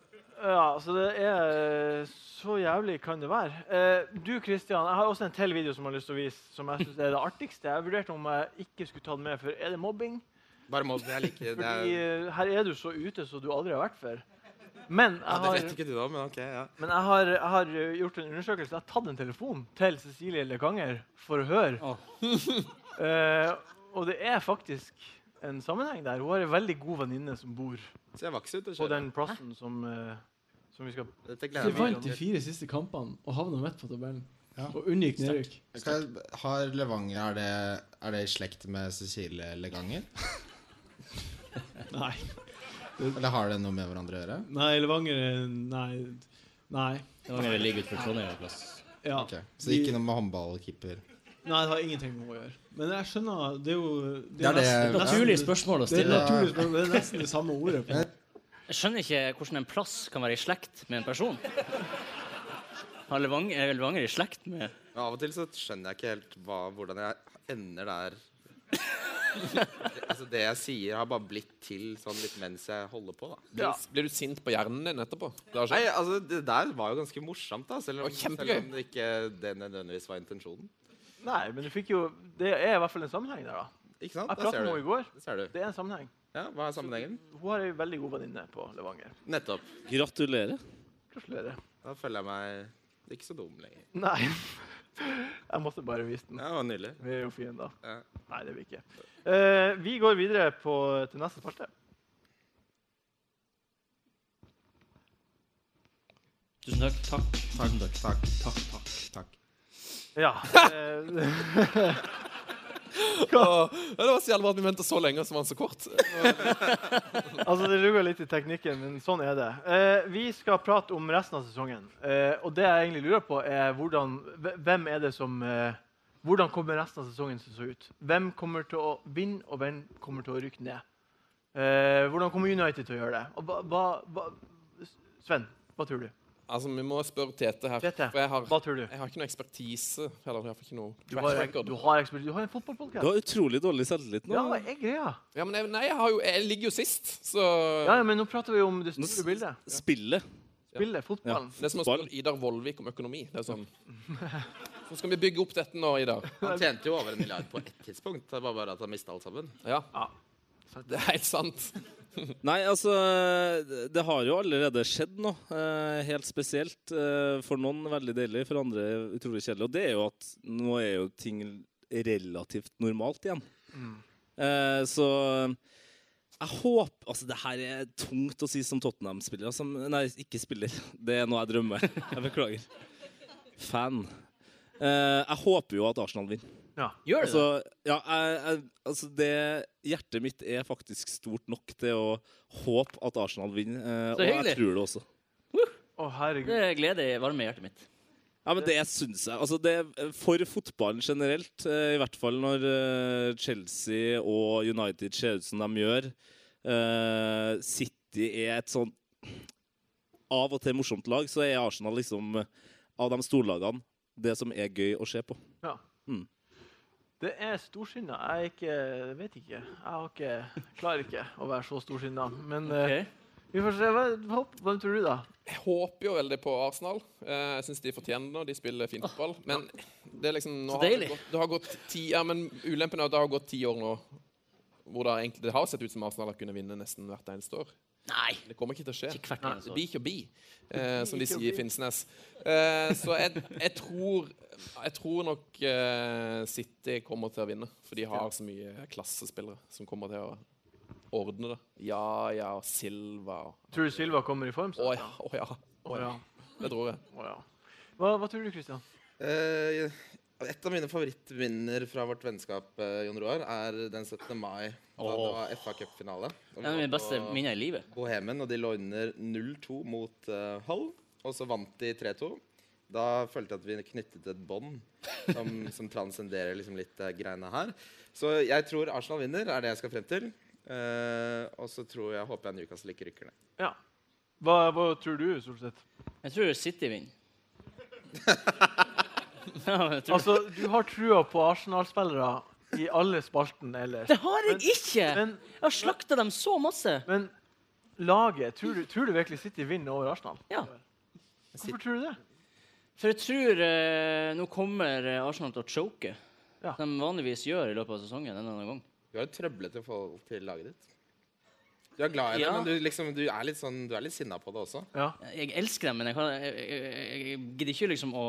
[SPEAKER 1] Ja, så det er eh, Så jævlig kan det være. Eh, du, Kristian, jeg har også en til video som jeg har lyst til å vise, som jeg synes er det artigste. Jeg vurderte om jeg ikke skulle ta den med, for er det mobbing?
[SPEAKER 5] Bare mobb. Jeg liker det.
[SPEAKER 1] Fordi
[SPEAKER 5] Er,
[SPEAKER 1] eh, her er du så ute som du aldri har vært før. Men
[SPEAKER 5] ja,
[SPEAKER 1] jeg
[SPEAKER 5] det
[SPEAKER 1] har,
[SPEAKER 5] vet ikke du om, men OK. ja.
[SPEAKER 1] men jeg har, jeg har eh, gjort en undersøkelse. Jeg har tatt en telefon til Cecilie Lekanger for å høre. <laughs> Eh, og det er faktisk en sammenheng der. Hun har en veldig god venninne som bor
[SPEAKER 5] Så jeg vokser ut og
[SPEAKER 1] på
[SPEAKER 5] kjører.
[SPEAKER 1] den plassen som, eh, som vi skal
[SPEAKER 5] Dette
[SPEAKER 6] De
[SPEAKER 5] gleder jeg
[SPEAKER 6] vant
[SPEAKER 5] meg
[SPEAKER 6] de
[SPEAKER 5] til.
[SPEAKER 6] fire siste kampene og havna midt på tabellen.
[SPEAKER 7] Ja.
[SPEAKER 6] Og unngikk nedrykk.
[SPEAKER 7] Skal jeg, har Levanger Er det, er det i slekt med Cecilie Leganger?
[SPEAKER 6] Nei.
[SPEAKER 7] Eller har det noe med hverandre å gjøre?
[SPEAKER 6] Nei, Levanger er- Nei. Nei.
[SPEAKER 2] Det var vel ligge utenfor Trondheim en plass.
[SPEAKER 6] Ja.
[SPEAKER 7] Ok, Så det er ikke noe med håndball og keeper?
[SPEAKER 6] Nei, det har ingenting med henne å gjøre. Men jeg skjønner Det er jo
[SPEAKER 7] Det er det-
[SPEAKER 6] nesten-
[SPEAKER 7] Naturlig
[SPEAKER 2] spørsmål å
[SPEAKER 6] Det er,
[SPEAKER 7] stille.
[SPEAKER 6] naturlig, spørsmål, det er nesten det samme ordet. På.
[SPEAKER 2] Jeg skjønner ikke hvordan en plass kan være i slekt med en person. Har Levanger, er Levanger i slekt med
[SPEAKER 5] Men av og til så skjønner jeg ikke helt hva, hvordan jeg ender der. altså Det jeg sier, har bare blitt til sånn litt mens jeg holder på. da
[SPEAKER 1] Ja.
[SPEAKER 3] Blir du sint på hjernen din etterpå? Det har
[SPEAKER 5] Nei,
[SPEAKER 3] skjedd.
[SPEAKER 5] altså Det der var jo ganske morsomt, da selv om,
[SPEAKER 3] Å,
[SPEAKER 5] selv
[SPEAKER 3] kjempegøy.
[SPEAKER 5] om det ikke det nødvendigvis var intensjonen.
[SPEAKER 1] Nei, men du fikk jo Det er i hvert fall en sammenheng der, da.
[SPEAKER 5] Ikke sant?
[SPEAKER 1] Jeg pratet med henne i går.
[SPEAKER 5] Det ser du.
[SPEAKER 1] Det er en sammenheng.
[SPEAKER 5] Ja, Hva er sammenhengen?
[SPEAKER 1] Hun har ei veldig god venninne på Levanger.
[SPEAKER 5] Nettopp.
[SPEAKER 4] Gratulerer.
[SPEAKER 1] Gratulerer.
[SPEAKER 5] Da føler jeg meg ikke så dum lenger.
[SPEAKER 1] Nei. Jeg måtte bare vise den.
[SPEAKER 5] Ja, det var nydelig.
[SPEAKER 1] Vi er jo fiender.
[SPEAKER 5] Ja.
[SPEAKER 1] Nei, det er vi ikke. Eh, vi går videre på, til neste spalte.
[SPEAKER 2] Tusen takk. Takk.
[SPEAKER 7] Takk, takk, takk. takk, takk, takk.
[SPEAKER 1] Ja. eh,
[SPEAKER 3] Åh, ja, det var så jævlig bra at vi venta så lenge, og så var den så kort.
[SPEAKER 1] altså, det ruger litt i teknikken, men sånn er det. Eh, vi skal prate om resten av sesongen. Eh, og det jeg egentlig lurer på, er hvordan Hvem er det som eh, Hvordan kommer resten av sesongen til å se ut? Hvem kommer til å vinne, og hvem kommer til å rykke ned? Eh, hvordan kommer United til å gjøre det? Og hva, hva, hva Sven, hva tror du?
[SPEAKER 3] Altså, Vi må spørre Tete her.
[SPEAKER 1] Tete,
[SPEAKER 3] For jeg har,
[SPEAKER 1] hva tror du?
[SPEAKER 3] jeg har ikke noe ekspertise. Eller, jeg har ikke noe
[SPEAKER 1] Du har,
[SPEAKER 3] track record.
[SPEAKER 1] du har, ekspert- du har en fotballpodkast.
[SPEAKER 4] Du har utrolig dårlig selvtillit
[SPEAKER 1] Ja,
[SPEAKER 4] nå.
[SPEAKER 1] hva er greia?
[SPEAKER 3] Ja, men jeg, nei, jeg, har jo, jeg ligger jo sist, så
[SPEAKER 1] Ja, ja, men nå prater vi om det
[SPEAKER 4] Nå
[SPEAKER 1] store
[SPEAKER 4] s-
[SPEAKER 1] bildet.
[SPEAKER 4] Spillet.
[SPEAKER 1] Spillet, fotballen.
[SPEAKER 3] Det er som å spørre Idar Vollvik om økonomi. Det er sånn Så skal vi bygge opp dette nå, Idar.
[SPEAKER 5] Han tjente jo over en milliard på ett tidspunkt. Det var bare at han mista alt sammen.
[SPEAKER 3] Ja.
[SPEAKER 1] Ja.
[SPEAKER 3] Det er helt sant.
[SPEAKER 4] Nei, altså Det har jo allerede skjedd noe eh, helt spesielt. eh, For noen veldig deilig, for andre utrolig kjedelig. Og det er jo at nå er jo ting relativt normalt igjen. Eh, Så jeg håper Altså, det her er tungt å si som Tottenham-spiller. Altså, nei, ikke spiller. <laughs> Det er noe jeg drømmer. <laughs> Jeg beklager. Fan. Eh, Jeg håper jo at Arsenal vinner.
[SPEAKER 2] Gjør det
[SPEAKER 4] Altså, ja, jeg, jeg, altså det Hjertet mitt er faktisk stort nok til å håpe at Arsenal vinner.
[SPEAKER 2] Så
[SPEAKER 4] eh, og
[SPEAKER 2] hyggelig.
[SPEAKER 4] jeg tror det også.
[SPEAKER 1] Å,
[SPEAKER 2] det?
[SPEAKER 1] herregud.
[SPEAKER 2] Det gleder i varme i hjertet mitt.
[SPEAKER 4] Ja, men det syns jeg. Altså det, for fotballen generelt, eh, i hvert fall når eh, Chelsea og United ser ut som de gjør eh, City er et sånn av og til morsomt lag, så er Arsenal liksom eh, av de storlagene det som er gøy å se på.
[SPEAKER 1] Ja.
[SPEAKER 4] Mm.
[SPEAKER 1] Det er storsinna. Jeg er ikke jeg vet ikke. Jeg har ikke, klarer ikke å være så storsinna. Men eh,
[SPEAKER 2] Ok.
[SPEAKER 1] vi får se. Hva, hopp, hvem tror du, da?
[SPEAKER 3] Jeg håper jo veldig på Arsenal. Eh, Jeg syns de fortjener det, og de spiller fin fotball. Men det er liksom nå
[SPEAKER 2] Så
[SPEAKER 3] har det,
[SPEAKER 2] deilig.
[SPEAKER 3] gått, det har gått ti Ja, men ulempen er at det har gått ti år nå hvor det, egentlig, det har sett ut som Arsenal har kunnet vinne nesten hvert eneste år.
[SPEAKER 2] Nei!
[SPEAKER 3] Det kommer ikke til å skje.
[SPEAKER 2] Ikke hvert eneste år.
[SPEAKER 3] Be ikke be, eh, som de sier i Finnsnes. Eh, så jeg, jeg tror Jeg tror nok eh, City kommer til å vinne. For de har så mye klassespillere som kommer til å ordne det. Ja, ja, Silva Å
[SPEAKER 1] Tror du Silva kommer i form?
[SPEAKER 3] ja, å ja. å ja.
[SPEAKER 1] ja.
[SPEAKER 3] Det tror jeg.
[SPEAKER 1] Å, ja. Hva, hva tror du, Christian?
[SPEAKER 5] Eh, et av mine favorittminner fra vårt vennskap, eh, Jon Roar, er den 17. mai. Da det
[SPEAKER 2] Åh.
[SPEAKER 5] var FA Cup-finale. Og vi
[SPEAKER 2] Det er
[SPEAKER 5] var
[SPEAKER 2] mine beste
[SPEAKER 5] på
[SPEAKER 2] minner i livet.
[SPEAKER 5] Bohemen, og de lå under 0-2 mot eh, Hull. Og så vant de 3-2. Da følte jeg at vi knyttet et bånd som, som transcenderer liksom litt eh, greiene her. Så jeg tror Arsenal vinner, er det jeg skal frem til. Eh, og så tror jeg, håper jeg Newcastle ikke rykker ned.
[SPEAKER 1] Ja. Hva, hva tror du, Solseth?
[SPEAKER 2] Jeg tror City
[SPEAKER 1] <laughs>
[SPEAKER 2] vinner. ja, men jeg tror
[SPEAKER 1] Altså, du har trua på Arsenal-spillere i alle spalten ellers.
[SPEAKER 2] Det har jeg ikke!
[SPEAKER 1] Men,
[SPEAKER 2] Jeg har slakta dem så masse.
[SPEAKER 1] men laget tror du, tror du virkelig City vinner over Arsenal?
[SPEAKER 2] Ja.
[SPEAKER 1] Hvorfor tror du det?
[SPEAKER 2] For jeg tror eh, nå kommer eh, Arsenal til å choke.
[SPEAKER 1] Ja.
[SPEAKER 2] Som de vanligvis gjør i løpet av sesongen. en eller annen gang.
[SPEAKER 5] Du har jo trøblete forhold til laget ditt. Du er glad i det,
[SPEAKER 2] Ja.
[SPEAKER 5] men du, liksom, du er litt, sånn, du er litt sinna på det også.
[SPEAKER 1] Ja.
[SPEAKER 2] Jeg elsker dem, men jeg, kan, jeg, jeg, jeg- jeg gidder ikke liksom å,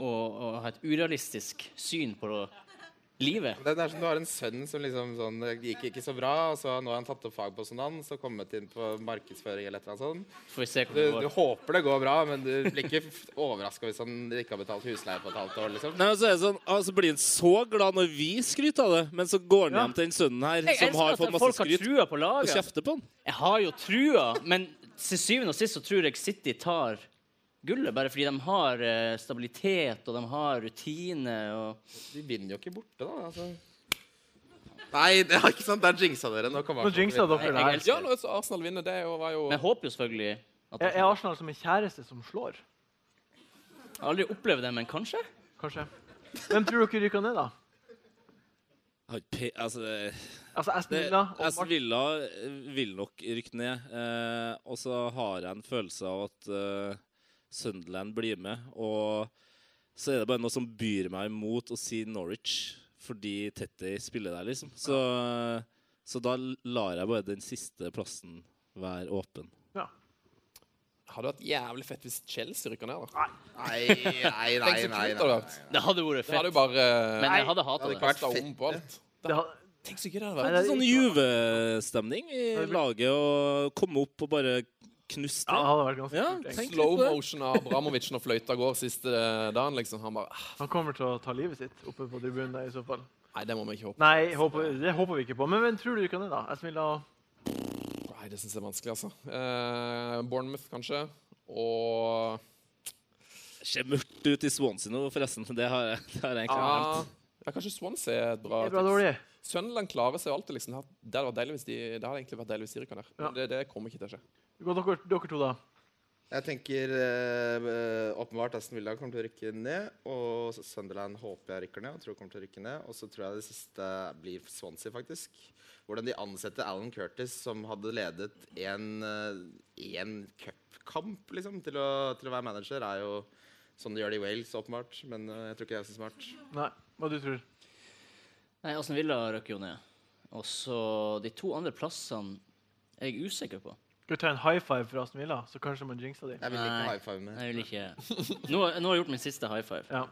[SPEAKER 2] å, å ha et urealistisk syn på livet.
[SPEAKER 5] Det er som du har en sønn som liksom sånn, det gikk ikke så bra, og så nå har han tatt opp fag på sånn annen, så kommet inn på markedsføring eller et eller annet sånt.
[SPEAKER 2] Får vi se
[SPEAKER 5] Du,
[SPEAKER 2] hvordan
[SPEAKER 5] du
[SPEAKER 2] det går.
[SPEAKER 5] håper det går bra, men du blir ikke overraska hvis han ikke har betalt husleie på et halvt år, liksom.
[SPEAKER 4] Nei, men så er det sånn, altså blir han så glad når vi skryter av det, men så går
[SPEAKER 1] Ja.
[SPEAKER 4] han hjem til den sønnen her
[SPEAKER 2] Jeg
[SPEAKER 4] som har
[SPEAKER 2] elsker
[SPEAKER 4] fått
[SPEAKER 2] at
[SPEAKER 4] masse
[SPEAKER 2] folk har
[SPEAKER 4] skryt,
[SPEAKER 2] trua på
[SPEAKER 4] og
[SPEAKER 2] laget.
[SPEAKER 4] kjefter på han.
[SPEAKER 2] Jeg har jo trua, men til syvende og sist så tror jeg City tar gullet, bare fordi de har eh, stabilitet og de har rutine. og...
[SPEAKER 5] De vinner jo ikke borte, da. Altså. Nei, det er ikke sant. Der jinxa dere. Nå kommer
[SPEAKER 1] Nå jinxa dere
[SPEAKER 2] Jeg,
[SPEAKER 1] det
[SPEAKER 2] jeg
[SPEAKER 1] her.
[SPEAKER 3] Ja,
[SPEAKER 2] elsker det.
[SPEAKER 3] når Arsenal vinner, det jo- var jo
[SPEAKER 2] Men jeg håper jo selvfølgelig at
[SPEAKER 1] Er, er Arsenal som en kjæreste som slår?
[SPEAKER 2] Jeg har aldri opplevd det, men kanskje?
[SPEAKER 1] Kanskje. Hvem tror dere rykker ned, da?
[SPEAKER 4] Har ikke pe- Altså, det-
[SPEAKER 1] Altså Aston
[SPEAKER 4] det-
[SPEAKER 1] Villa og
[SPEAKER 4] Aston
[SPEAKER 1] Mar-
[SPEAKER 4] Villa eh, vil nok rykke ned. Eh, og så har jeg en følelse av at eh, Sunderland blir med. Og så er det bare noe som byr meg imot å si Norwich, fordi Tetty spiller der, liksom. Så, så da lar jeg bare den siste plassen være åpen.
[SPEAKER 1] ja.
[SPEAKER 3] Hadde vært jævlig fett hvis Chelsea rykker ned, da.
[SPEAKER 5] Nei, nei, nei.
[SPEAKER 3] Tenk så
[SPEAKER 5] nei,
[SPEAKER 3] kult det
[SPEAKER 5] nei.
[SPEAKER 3] hadde vært.
[SPEAKER 2] Det hadde vært
[SPEAKER 3] Da hadde
[SPEAKER 2] fett,
[SPEAKER 3] jo bare
[SPEAKER 2] men jeg hadde hata
[SPEAKER 5] hadde
[SPEAKER 2] det.
[SPEAKER 5] ikke vært
[SPEAKER 3] kasta
[SPEAKER 5] fett,
[SPEAKER 3] om på alt.
[SPEAKER 1] Det har,
[SPEAKER 3] Tenk så gøy det hadde
[SPEAKER 1] Nei,
[SPEAKER 3] vært.
[SPEAKER 1] det
[SPEAKER 4] Sånn juvestemning i
[SPEAKER 1] Det blir-
[SPEAKER 4] laget og komme opp og bare knuste.
[SPEAKER 1] ja, det hadde vært ganske
[SPEAKER 4] Ja,
[SPEAKER 1] kult. egentlig.
[SPEAKER 4] tenk
[SPEAKER 3] Slow
[SPEAKER 4] litt på det.
[SPEAKER 3] motion av Abramovic når fløyta går siste eh, dagen, liksom. Han bare "Ah,
[SPEAKER 1] Han kommer til å ta livet sitt oppe på tribunen der i så fall.
[SPEAKER 3] Nei, det må vi ikke håpe.
[SPEAKER 1] Nei, håper, det håper vi ikke på. Men hvem tror du rykker ned, da? Aston Villa og
[SPEAKER 3] Nei, det syns jeg er vanskelig, altså. Eh, Bournemouth, kanskje. Og
[SPEAKER 4] Ser mørkt ut i Swansea nå, forresten. Det har jeg, det har jeg egentlig
[SPEAKER 3] ja,
[SPEAKER 4] glemt.
[SPEAKER 3] ja, kanskje Swansea er et bra
[SPEAKER 1] er bra dårlig.
[SPEAKER 3] Sunderland klarer seg jo alltid, liksom. Det hadde, vært deilig hvis de, det hadde egentlig vært deilig hvis de rykker ned. Men Det, det kommer ikke til å skje.
[SPEAKER 1] Gå dere, dere to, da.
[SPEAKER 5] Jeg tenker eh, åpenbart Aston Villa kommer til å rykke ned. Og Sunderland håper jeg rykker ned. Og tror kommer til å rykke ned. Og så tror jeg det siste blir Swansea, faktisk. Hvordan de ansetter Alan Curtis, som hadde ledet én cupkamp, liksom, til å, til å være manager, er jo sånn de gjør det i Wales, åpenbart. Men eh, jeg tror ikke det er så smart.
[SPEAKER 1] Nei, hva du tror?
[SPEAKER 2] Nei, Aston Villa røk jo ned. Og så de to andre plassene er jeg usikker på.
[SPEAKER 1] Skal vi ta en high five for Aston Villa, så kanskje man jinxer dem?
[SPEAKER 5] Jeg vil ikke
[SPEAKER 2] Nei.
[SPEAKER 5] high five med
[SPEAKER 2] Jeg vil ikke Nå, nå har jeg gjort min siste high five.
[SPEAKER 1] Ja.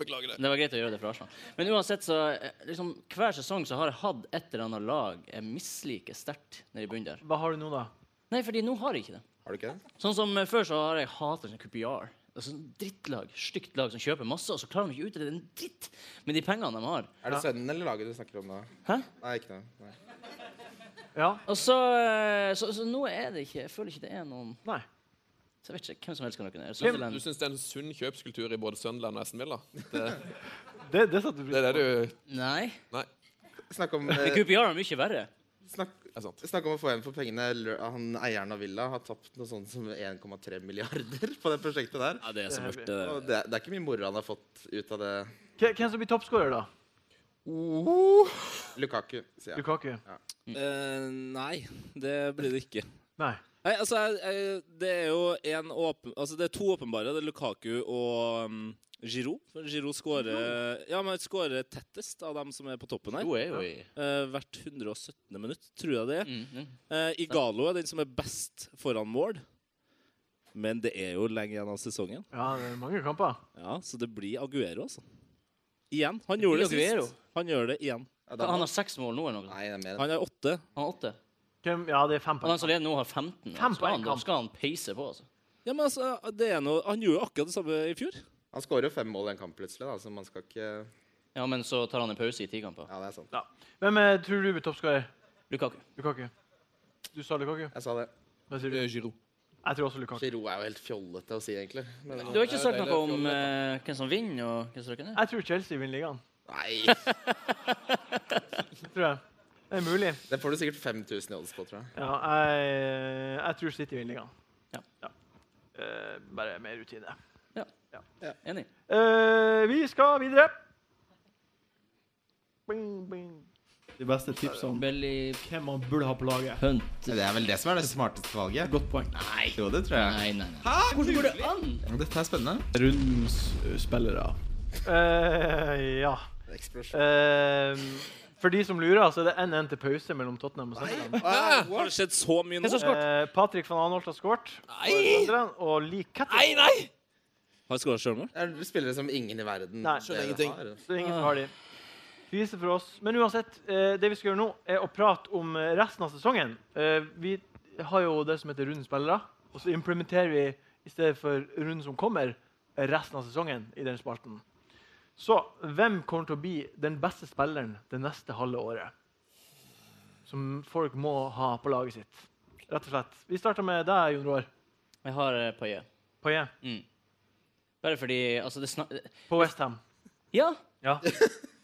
[SPEAKER 3] Beklager det.
[SPEAKER 2] Det var greit å gjøre det for Arsenal. Men uansett, så eh, liksom, hver sesong så har jeg hatt et eller annet lag jeg misliker sterkt nede i bunnen der.
[SPEAKER 1] Hva har du nå, da?
[SPEAKER 2] Nei, fordi nå har jeg ikke det.
[SPEAKER 5] Har du ikke det?
[SPEAKER 2] Sånn som eh, Før så har jeg hatet sånn QPR. Altså, sånn drittlag. Stygt lag som kjøper masse, og så klarer de ikke å utrede en dritt med de pengene de har.
[SPEAKER 5] Er det sønnen eller laget du snakker om nå?
[SPEAKER 2] Hæ?
[SPEAKER 5] Nei, ikke noe. Nei.
[SPEAKER 1] Ja?
[SPEAKER 2] Og så, eh, så, så nå er det ikke Jeg føler ikke det er noen
[SPEAKER 1] Nei.
[SPEAKER 2] Så jeg vet ikke hvem som helst kan røkke ned.
[SPEAKER 3] Du
[SPEAKER 2] Sunderland.
[SPEAKER 3] syns det er en sunn kjøpskultur i både Sunderland og Aston Villa? Det,
[SPEAKER 1] Det, det satte du
[SPEAKER 3] det
[SPEAKER 1] pris
[SPEAKER 3] er det du
[SPEAKER 2] Nei.
[SPEAKER 3] Nei,
[SPEAKER 5] Snakk
[SPEAKER 2] <laughs>
[SPEAKER 5] om
[SPEAKER 2] Men
[SPEAKER 5] eh,
[SPEAKER 2] QPR er mye verre.
[SPEAKER 5] snakk,
[SPEAKER 3] det er sant.
[SPEAKER 5] Snakk om å få igjen for pengene. Lø- Han Eieren av Villa har tapt noe sånt som 1,3 milliarder på det prosjektet der.
[SPEAKER 4] Ja, det er så mørkt, det der.
[SPEAKER 5] Og det, det er ikke mye moro han har fått ut av det.
[SPEAKER 1] Hvem hvem som blir toppskårer, da?
[SPEAKER 3] Uh.
[SPEAKER 5] Lukaku, sier jeg.
[SPEAKER 1] Lukaku?
[SPEAKER 4] Eh, nei, det blir det ikke.
[SPEAKER 1] Nei.
[SPEAKER 4] Nei, altså, jeg, jeg, det er jo en åpen, altså, det er to åpenbare. Det er Lukaku og um, Giroud. For Giroud skårer ja, men han skårer tettest av dem som er på toppen her.
[SPEAKER 2] Jo, er jo i
[SPEAKER 4] Eh, hvert 117. minutt, tror jeg det er.
[SPEAKER 2] mm, mm.
[SPEAKER 4] Eh, Igalo er den som er best foran mål. Men det er jo lenge igjen av sesongen.
[SPEAKER 1] Ja, det er mange kamper.
[SPEAKER 4] Ja, så det blir Aguero, altså. Igjen. Han gjorde det
[SPEAKER 2] blir Aguero.
[SPEAKER 4] sist. Han gjør det igjen.
[SPEAKER 5] Ja, da-
[SPEAKER 2] Han har seks mål nå eller noe.
[SPEAKER 5] Nei, det er mer enn
[SPEAKER 4] Han er åtte.
[SPEAKER 2] Han har åtte.
[SPEAKER 1] Hvem, ja, det er fem
[SPEAKER 2] Og
[SPEAKER 1] på
[SPEAKER 2] den som leder nå, har 15.
[SPEAKER 1] Fem
[SPEAKER 2] Da
[SPEAKER 1] på
[SPEAKER 2] skal,
[SPEAKER 1] en
[SPEAKER 2] han, da
[SPEAKER 1] kamp.
[SPEAKER 2] skal han peise på, altså.
[SPEAKER 4] Ja, men altså, det er noe, Han gjorde jo akkurat det samme i fjor.
[SPEAKER 5] Han skårer jo fem mål i en kamp plutselig, da, så man skal ikke
[SPEAKER 2] Ja, men så tar han en pause i ti kamper.
[SPEAKER 5] Ja, det er sant.
[SPEAKER 1] Ja. Hvem eh, tror du blir toppskårer?
[SPEAKER 2] Lukaku.
[SPEAKER 1] Lukaku? Du sa Lukaku?
[SPEAKER 5] Jeg sa det.
[SPEAKER 1] Hva sier du?
[SPEAKER 3] Eh, Giroud.
[SPEAKER 1] Jeg tror også Lukaku.
[SPEAKER 5] Giro er jo helt fjollete å si, egentlig. Men,
[SPEAKER 2] Du har ikke sagt
[SPEAKER 3] det er
[SPEAKER 2] noe om
[SPEAKER 3] fjollete.
[SPEAKER 2] eh, hvem som vinner, og hvem som rykker ned?
[SPEAKER 1] Jeg tror Chelsea vinner ligaen.
[SPEAKER 5] nei,
[SPEAKER 1] Tror jeg. Det er mulig.
[SPEAKER 5] det får du sikkert 5000 i odds på, tror jeg.
[SPEAKER 1] Ja, jeg, jeg tror City vinner ligaen.
[SPEAKER 2] Ja.
[SPEAKER 1] Eh, bare mer rutine.
[SPEAKER 2] Enig.
[SPEAKER 1] Eh, vi skal videre. Bing, bing.
[SPEAKER 6] De beste tipsene om
[SPEAKER 2] Belly
[SPEAKER 6] hvem man burde ha på laget.
[SPEAKER 2] Hunt.
[SPEAKER 7] Det er vel det som er det smarteste valget.
[SPEAKER 6] Godt poeng.
[SPEAKER 2] Nei.
[SPEAKER 7] Jo, det tror jeg.
[SPEAKER 2] Nei, nei, nei. Hvordan går det an?
[SPEAKER 7] Dette er spennende.
[SPEAKER 6] Rundens uh, spillere.
[SPEAKER 1] Eh, ja.
[SPEAKER 5] Eksplosjon.
[SPEAKER 1] Eh, for de som lurer, så er det 1-1 til pause mellom Tottenham og Sunderland.
[SPEAKER 4] Har det skjedd så mye nå?
[SPEAKER 2] Hvem som skåret?
[SPEAKER 1] Eh, Patrick van Anholt har skåret.
[SPEAKER 3] Nei!
[SPEAKER 1] Og Lee Catty.
[SPEAKER 3] Nei, nei!
[SPEAKER 4] Har jeg skåra sjølmål?
[SPEAKER 5] Det er spillere som ingen i verden
[SPEAKER 1] Nei.
[SPEAKER 5] skjønner
[SPEAKER 3] ingenting.
[SPEAKER 5] har.
[SPEAKER 1] Så det er ingen som har de. Viser for oss. Men uansett, eh, det vi skal gjøre nå, er å prate om eh, resten av sesongen. Eh, vi har jo det som heter rundens spillere, og så implementerer vi i stedet for runden som kommer, resten av sesongen i den spalten. Så hvem kommer til å bli den beste spilleren det neste halve året? Som folk må ha på laget sitt. Rett og slett. Vi starter med deg, Jon Roar.
[SPEAKER 2] Jeg har eh, Paillet.
[SPEAKER 1] Paillet
[SPEAKER 2] Bare fordi Altså, det snak...
[SPEAKER 1] på Westham.
[SPEAKER 2] Ja,
[SPEAKER 1] Ja.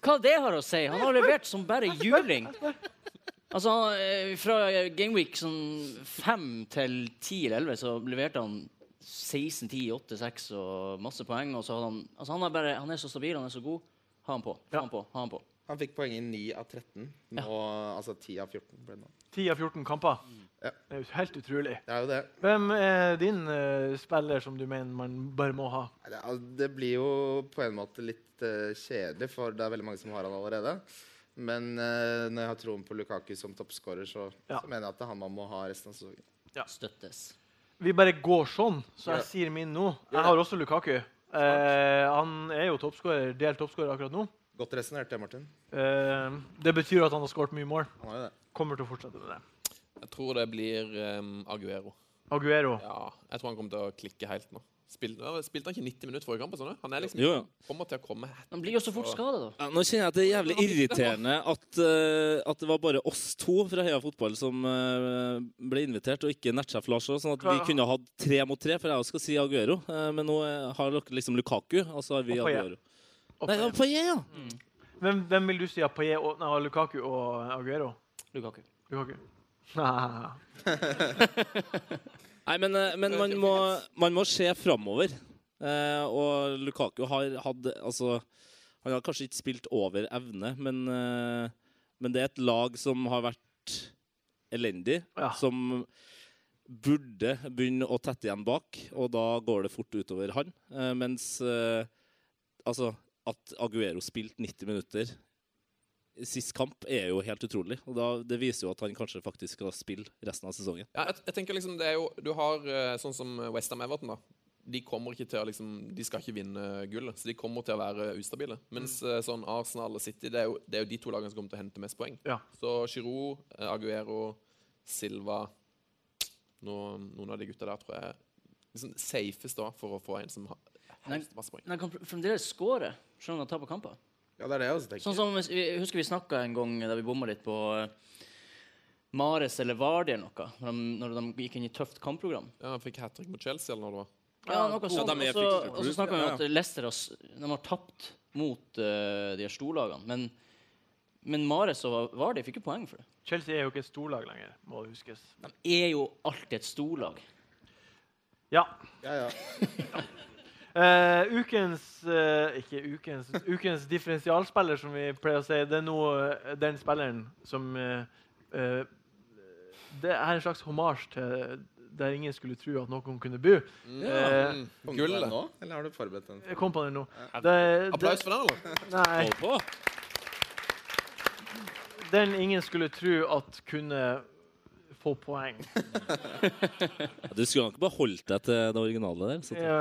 [SPEAKER 2] hva det har å si? Han har levert som bare juling. Altså, han, eh, fra Gameweek sånn 5 til 10 eller 11 så leverte han 16, 10, 8, 6 og masse poeng. Og så hadde han Altså, han er bare Han er så stabil, han er så god. Ha han på. Ha han på. Ha han på.
[SPEAKER 5] Han fikk poeng i 9 av 13. Nå, altså 10 av 14 ble det nå.
[SPEAKER 1] 10 av 14 kamper.
[SPEAKER 5] Ja.
[SPEAKER 1] Det er jo helt utrolig.
[SPEAKER 5] Det er jo det.
[SPEAKER 1] Hvem er din eh, spiller som du mener man bare må ha?
[SPEAKER 5] Nei, Det, er- det blir jo på en måte litt eh, kjedelig, for det er veldig mange som har han allerede. Men eh, når jeg har troen på Lukaku som toppskårer, så,
[SPEAKER 1] Ja.
[SPEAKER 5] så mener jeg at det er han man må ha resten av sesongen.
[SPEAKER 2] Støttes.
[SPEAKER 1] Vi bare går sånn, så
[SPEAKER 5] Gjør
[SPEAKER 1] jeg
[SPEAKER 5] det.
[SPEAKER 1] sier min nå.
[SPEAKER 5] det.
[SPEAKER 1] Jeg har også Lukaku. Eh, han er jo toppskårer, delt toppskårer akkurat nå.
[SPEAKER 5] Godt resonnert, det, Martin.
[SPEAKER 1] Eh, det betyr at han har skåret mye mål.
[SPEAKER 5] Han har jo det.
[SPEAKER 1] Kommer til å fortsette med det.
[SPEAKER 3] Jeg tror det blir ehm, Aguero.
[SPEAKER 1] Aguero.
[SPEAKER 3] Ja, jeg tror han kommer til å klikke helt nå. Spil, ja, spilte han ikke 90 minutter forrige kamp? og Sånn, han er liksom,
[SPEAKER 4] Jo, ja.
[SPEAKER 3] kommer til å komme hat-
[SPEAKER 2] Han blir jo så fort skada, da.
[SPEAKER 4] Ja, nå kjenner jeg at det er jævlig irriterende at, eh, at det var bare oss to fra Heia Fotball som eh, ble invitert, og ikke nettsjef Lars. også, Sånn at vi kunne hatt tre mot tre, for jeg også skal si Aguero. eh, Men nå eh, har dere liksom Lukaku, og så har vi
[SPEAKER 1] Og Payet.
[SPEAKER 4] Aguero.
[SPEAKER 1] Og
[SPEAKER 4] Nei, det var
[SPEAKER 1] Payet.
[SPEAKER 4] Payet, ja!
[SPEAKER 1] Hvem, hvem vil du si av Payet og nei, av Lukaku og Aguero?
[SPEAKER 2] Lukaku.
[SPEAKER 1] Lukaku. <laughs> Nei.
[SPEAKER 4] Nei, men, eh, men man, må, man må se framover. Eh, og Lukaku har hatt Altså, han har kanskje ikke spilt over evne, men, eh, men det er et lag som har vært elendig,
[SPEAKER 1] Ja.
[SPEAKER 4] som burde begynne å tette igjen bak, og da går det fort utover han. Eh, mens eh, altså at Aguero spilte 90 minutter sist kamp, er jo helt utrolig. Og da, det viser jo at han kanskje faktisk skal spille resten av sesongen.
[SPEAKER 3] Ja, jeg, jeg tenker liksom, det er jo, Du har eh, sånn som Westham Everton. da. De kommer ikke til å liksom, de skal ikke vinne gullet, så de kommer til å være ustabile. Mens eh, sånn Arsenal og City det er, jo, det er jo de to lagene som kommer til å hente mest poeng.
[SPEAKER 1] Ja.
[SPEAKER 3] Så Giroud, eh, Aguero, Silva nå, Noen av de gutta der tror jeg er liksom safest da, for å få en som har helst masse poeng.
[SPEAKER 2] Men han kan fr- fremdeles skåre, selv om han taper kamper.
[SPEAKER 5] Ja, det er det jeg også tenker.
[SPEAKER 2] Sånn som, jeg husker vi snakka en gang da vi bomma litt på eh, Mares eller Vardi eller noe, når de, når de gikk inn i tøft kampprogram.
[SPEAKER 3] Ja, han fikk hat trick mot Chelsea eller noe det var.
[SPEAKER 2] Ja, noe sånt.
[SPEAKER 4] de er
[SPEAKER 2] Og så,
[SPEAKER 4] fryktelig
[SPEAKER 2] og så
[SPEAKER 4] gode.
[SPEAKER 2] snakka vi om
[SPEAKER 4] Ja,
[SPEAKER 2] at Leicester har, s- de har tapt mot eh, de her storlagene. Men, men Mares og Vardi fikk jo poeng for det.
[SPEAKER 1] Chelsea er jo ikke et storlag lenger, må huskes.
[SPEAKER 2] De er jo alltid et storlag.
[SPEAKER 1] Ja.
[SPEAKER 5] Ja, ja.
[SPEAKER 1] Eh, ukens eh, Ikke ukens Ukens differensialspiller, som vi pleier å si, det er nå eh, den spilleren som eh, eh, Det er en slags hommage til der ingen skulle tro at noen kunne bo. Eh,
[SPEAKER 5] Kommer du på den
[SPEAKER 3] Mm. Gullet.
[SPEAKER 5] nå, eller har du forberedt den?
[SPEAKER 1] jeg kom på den nå. Det-
[SPEAKER 3] Applaus for den, eller?
[SPEAKER 1] det- Nei.
[SPEAKER 4] Hold på!
[SPEAKER 1] Den ingen skulle tro at kunne få poeng.
[SPEAKER 4] Ja, Du skulle ikke bare holdt deg til det originale der. Så
[SPEAKER 1] Ja,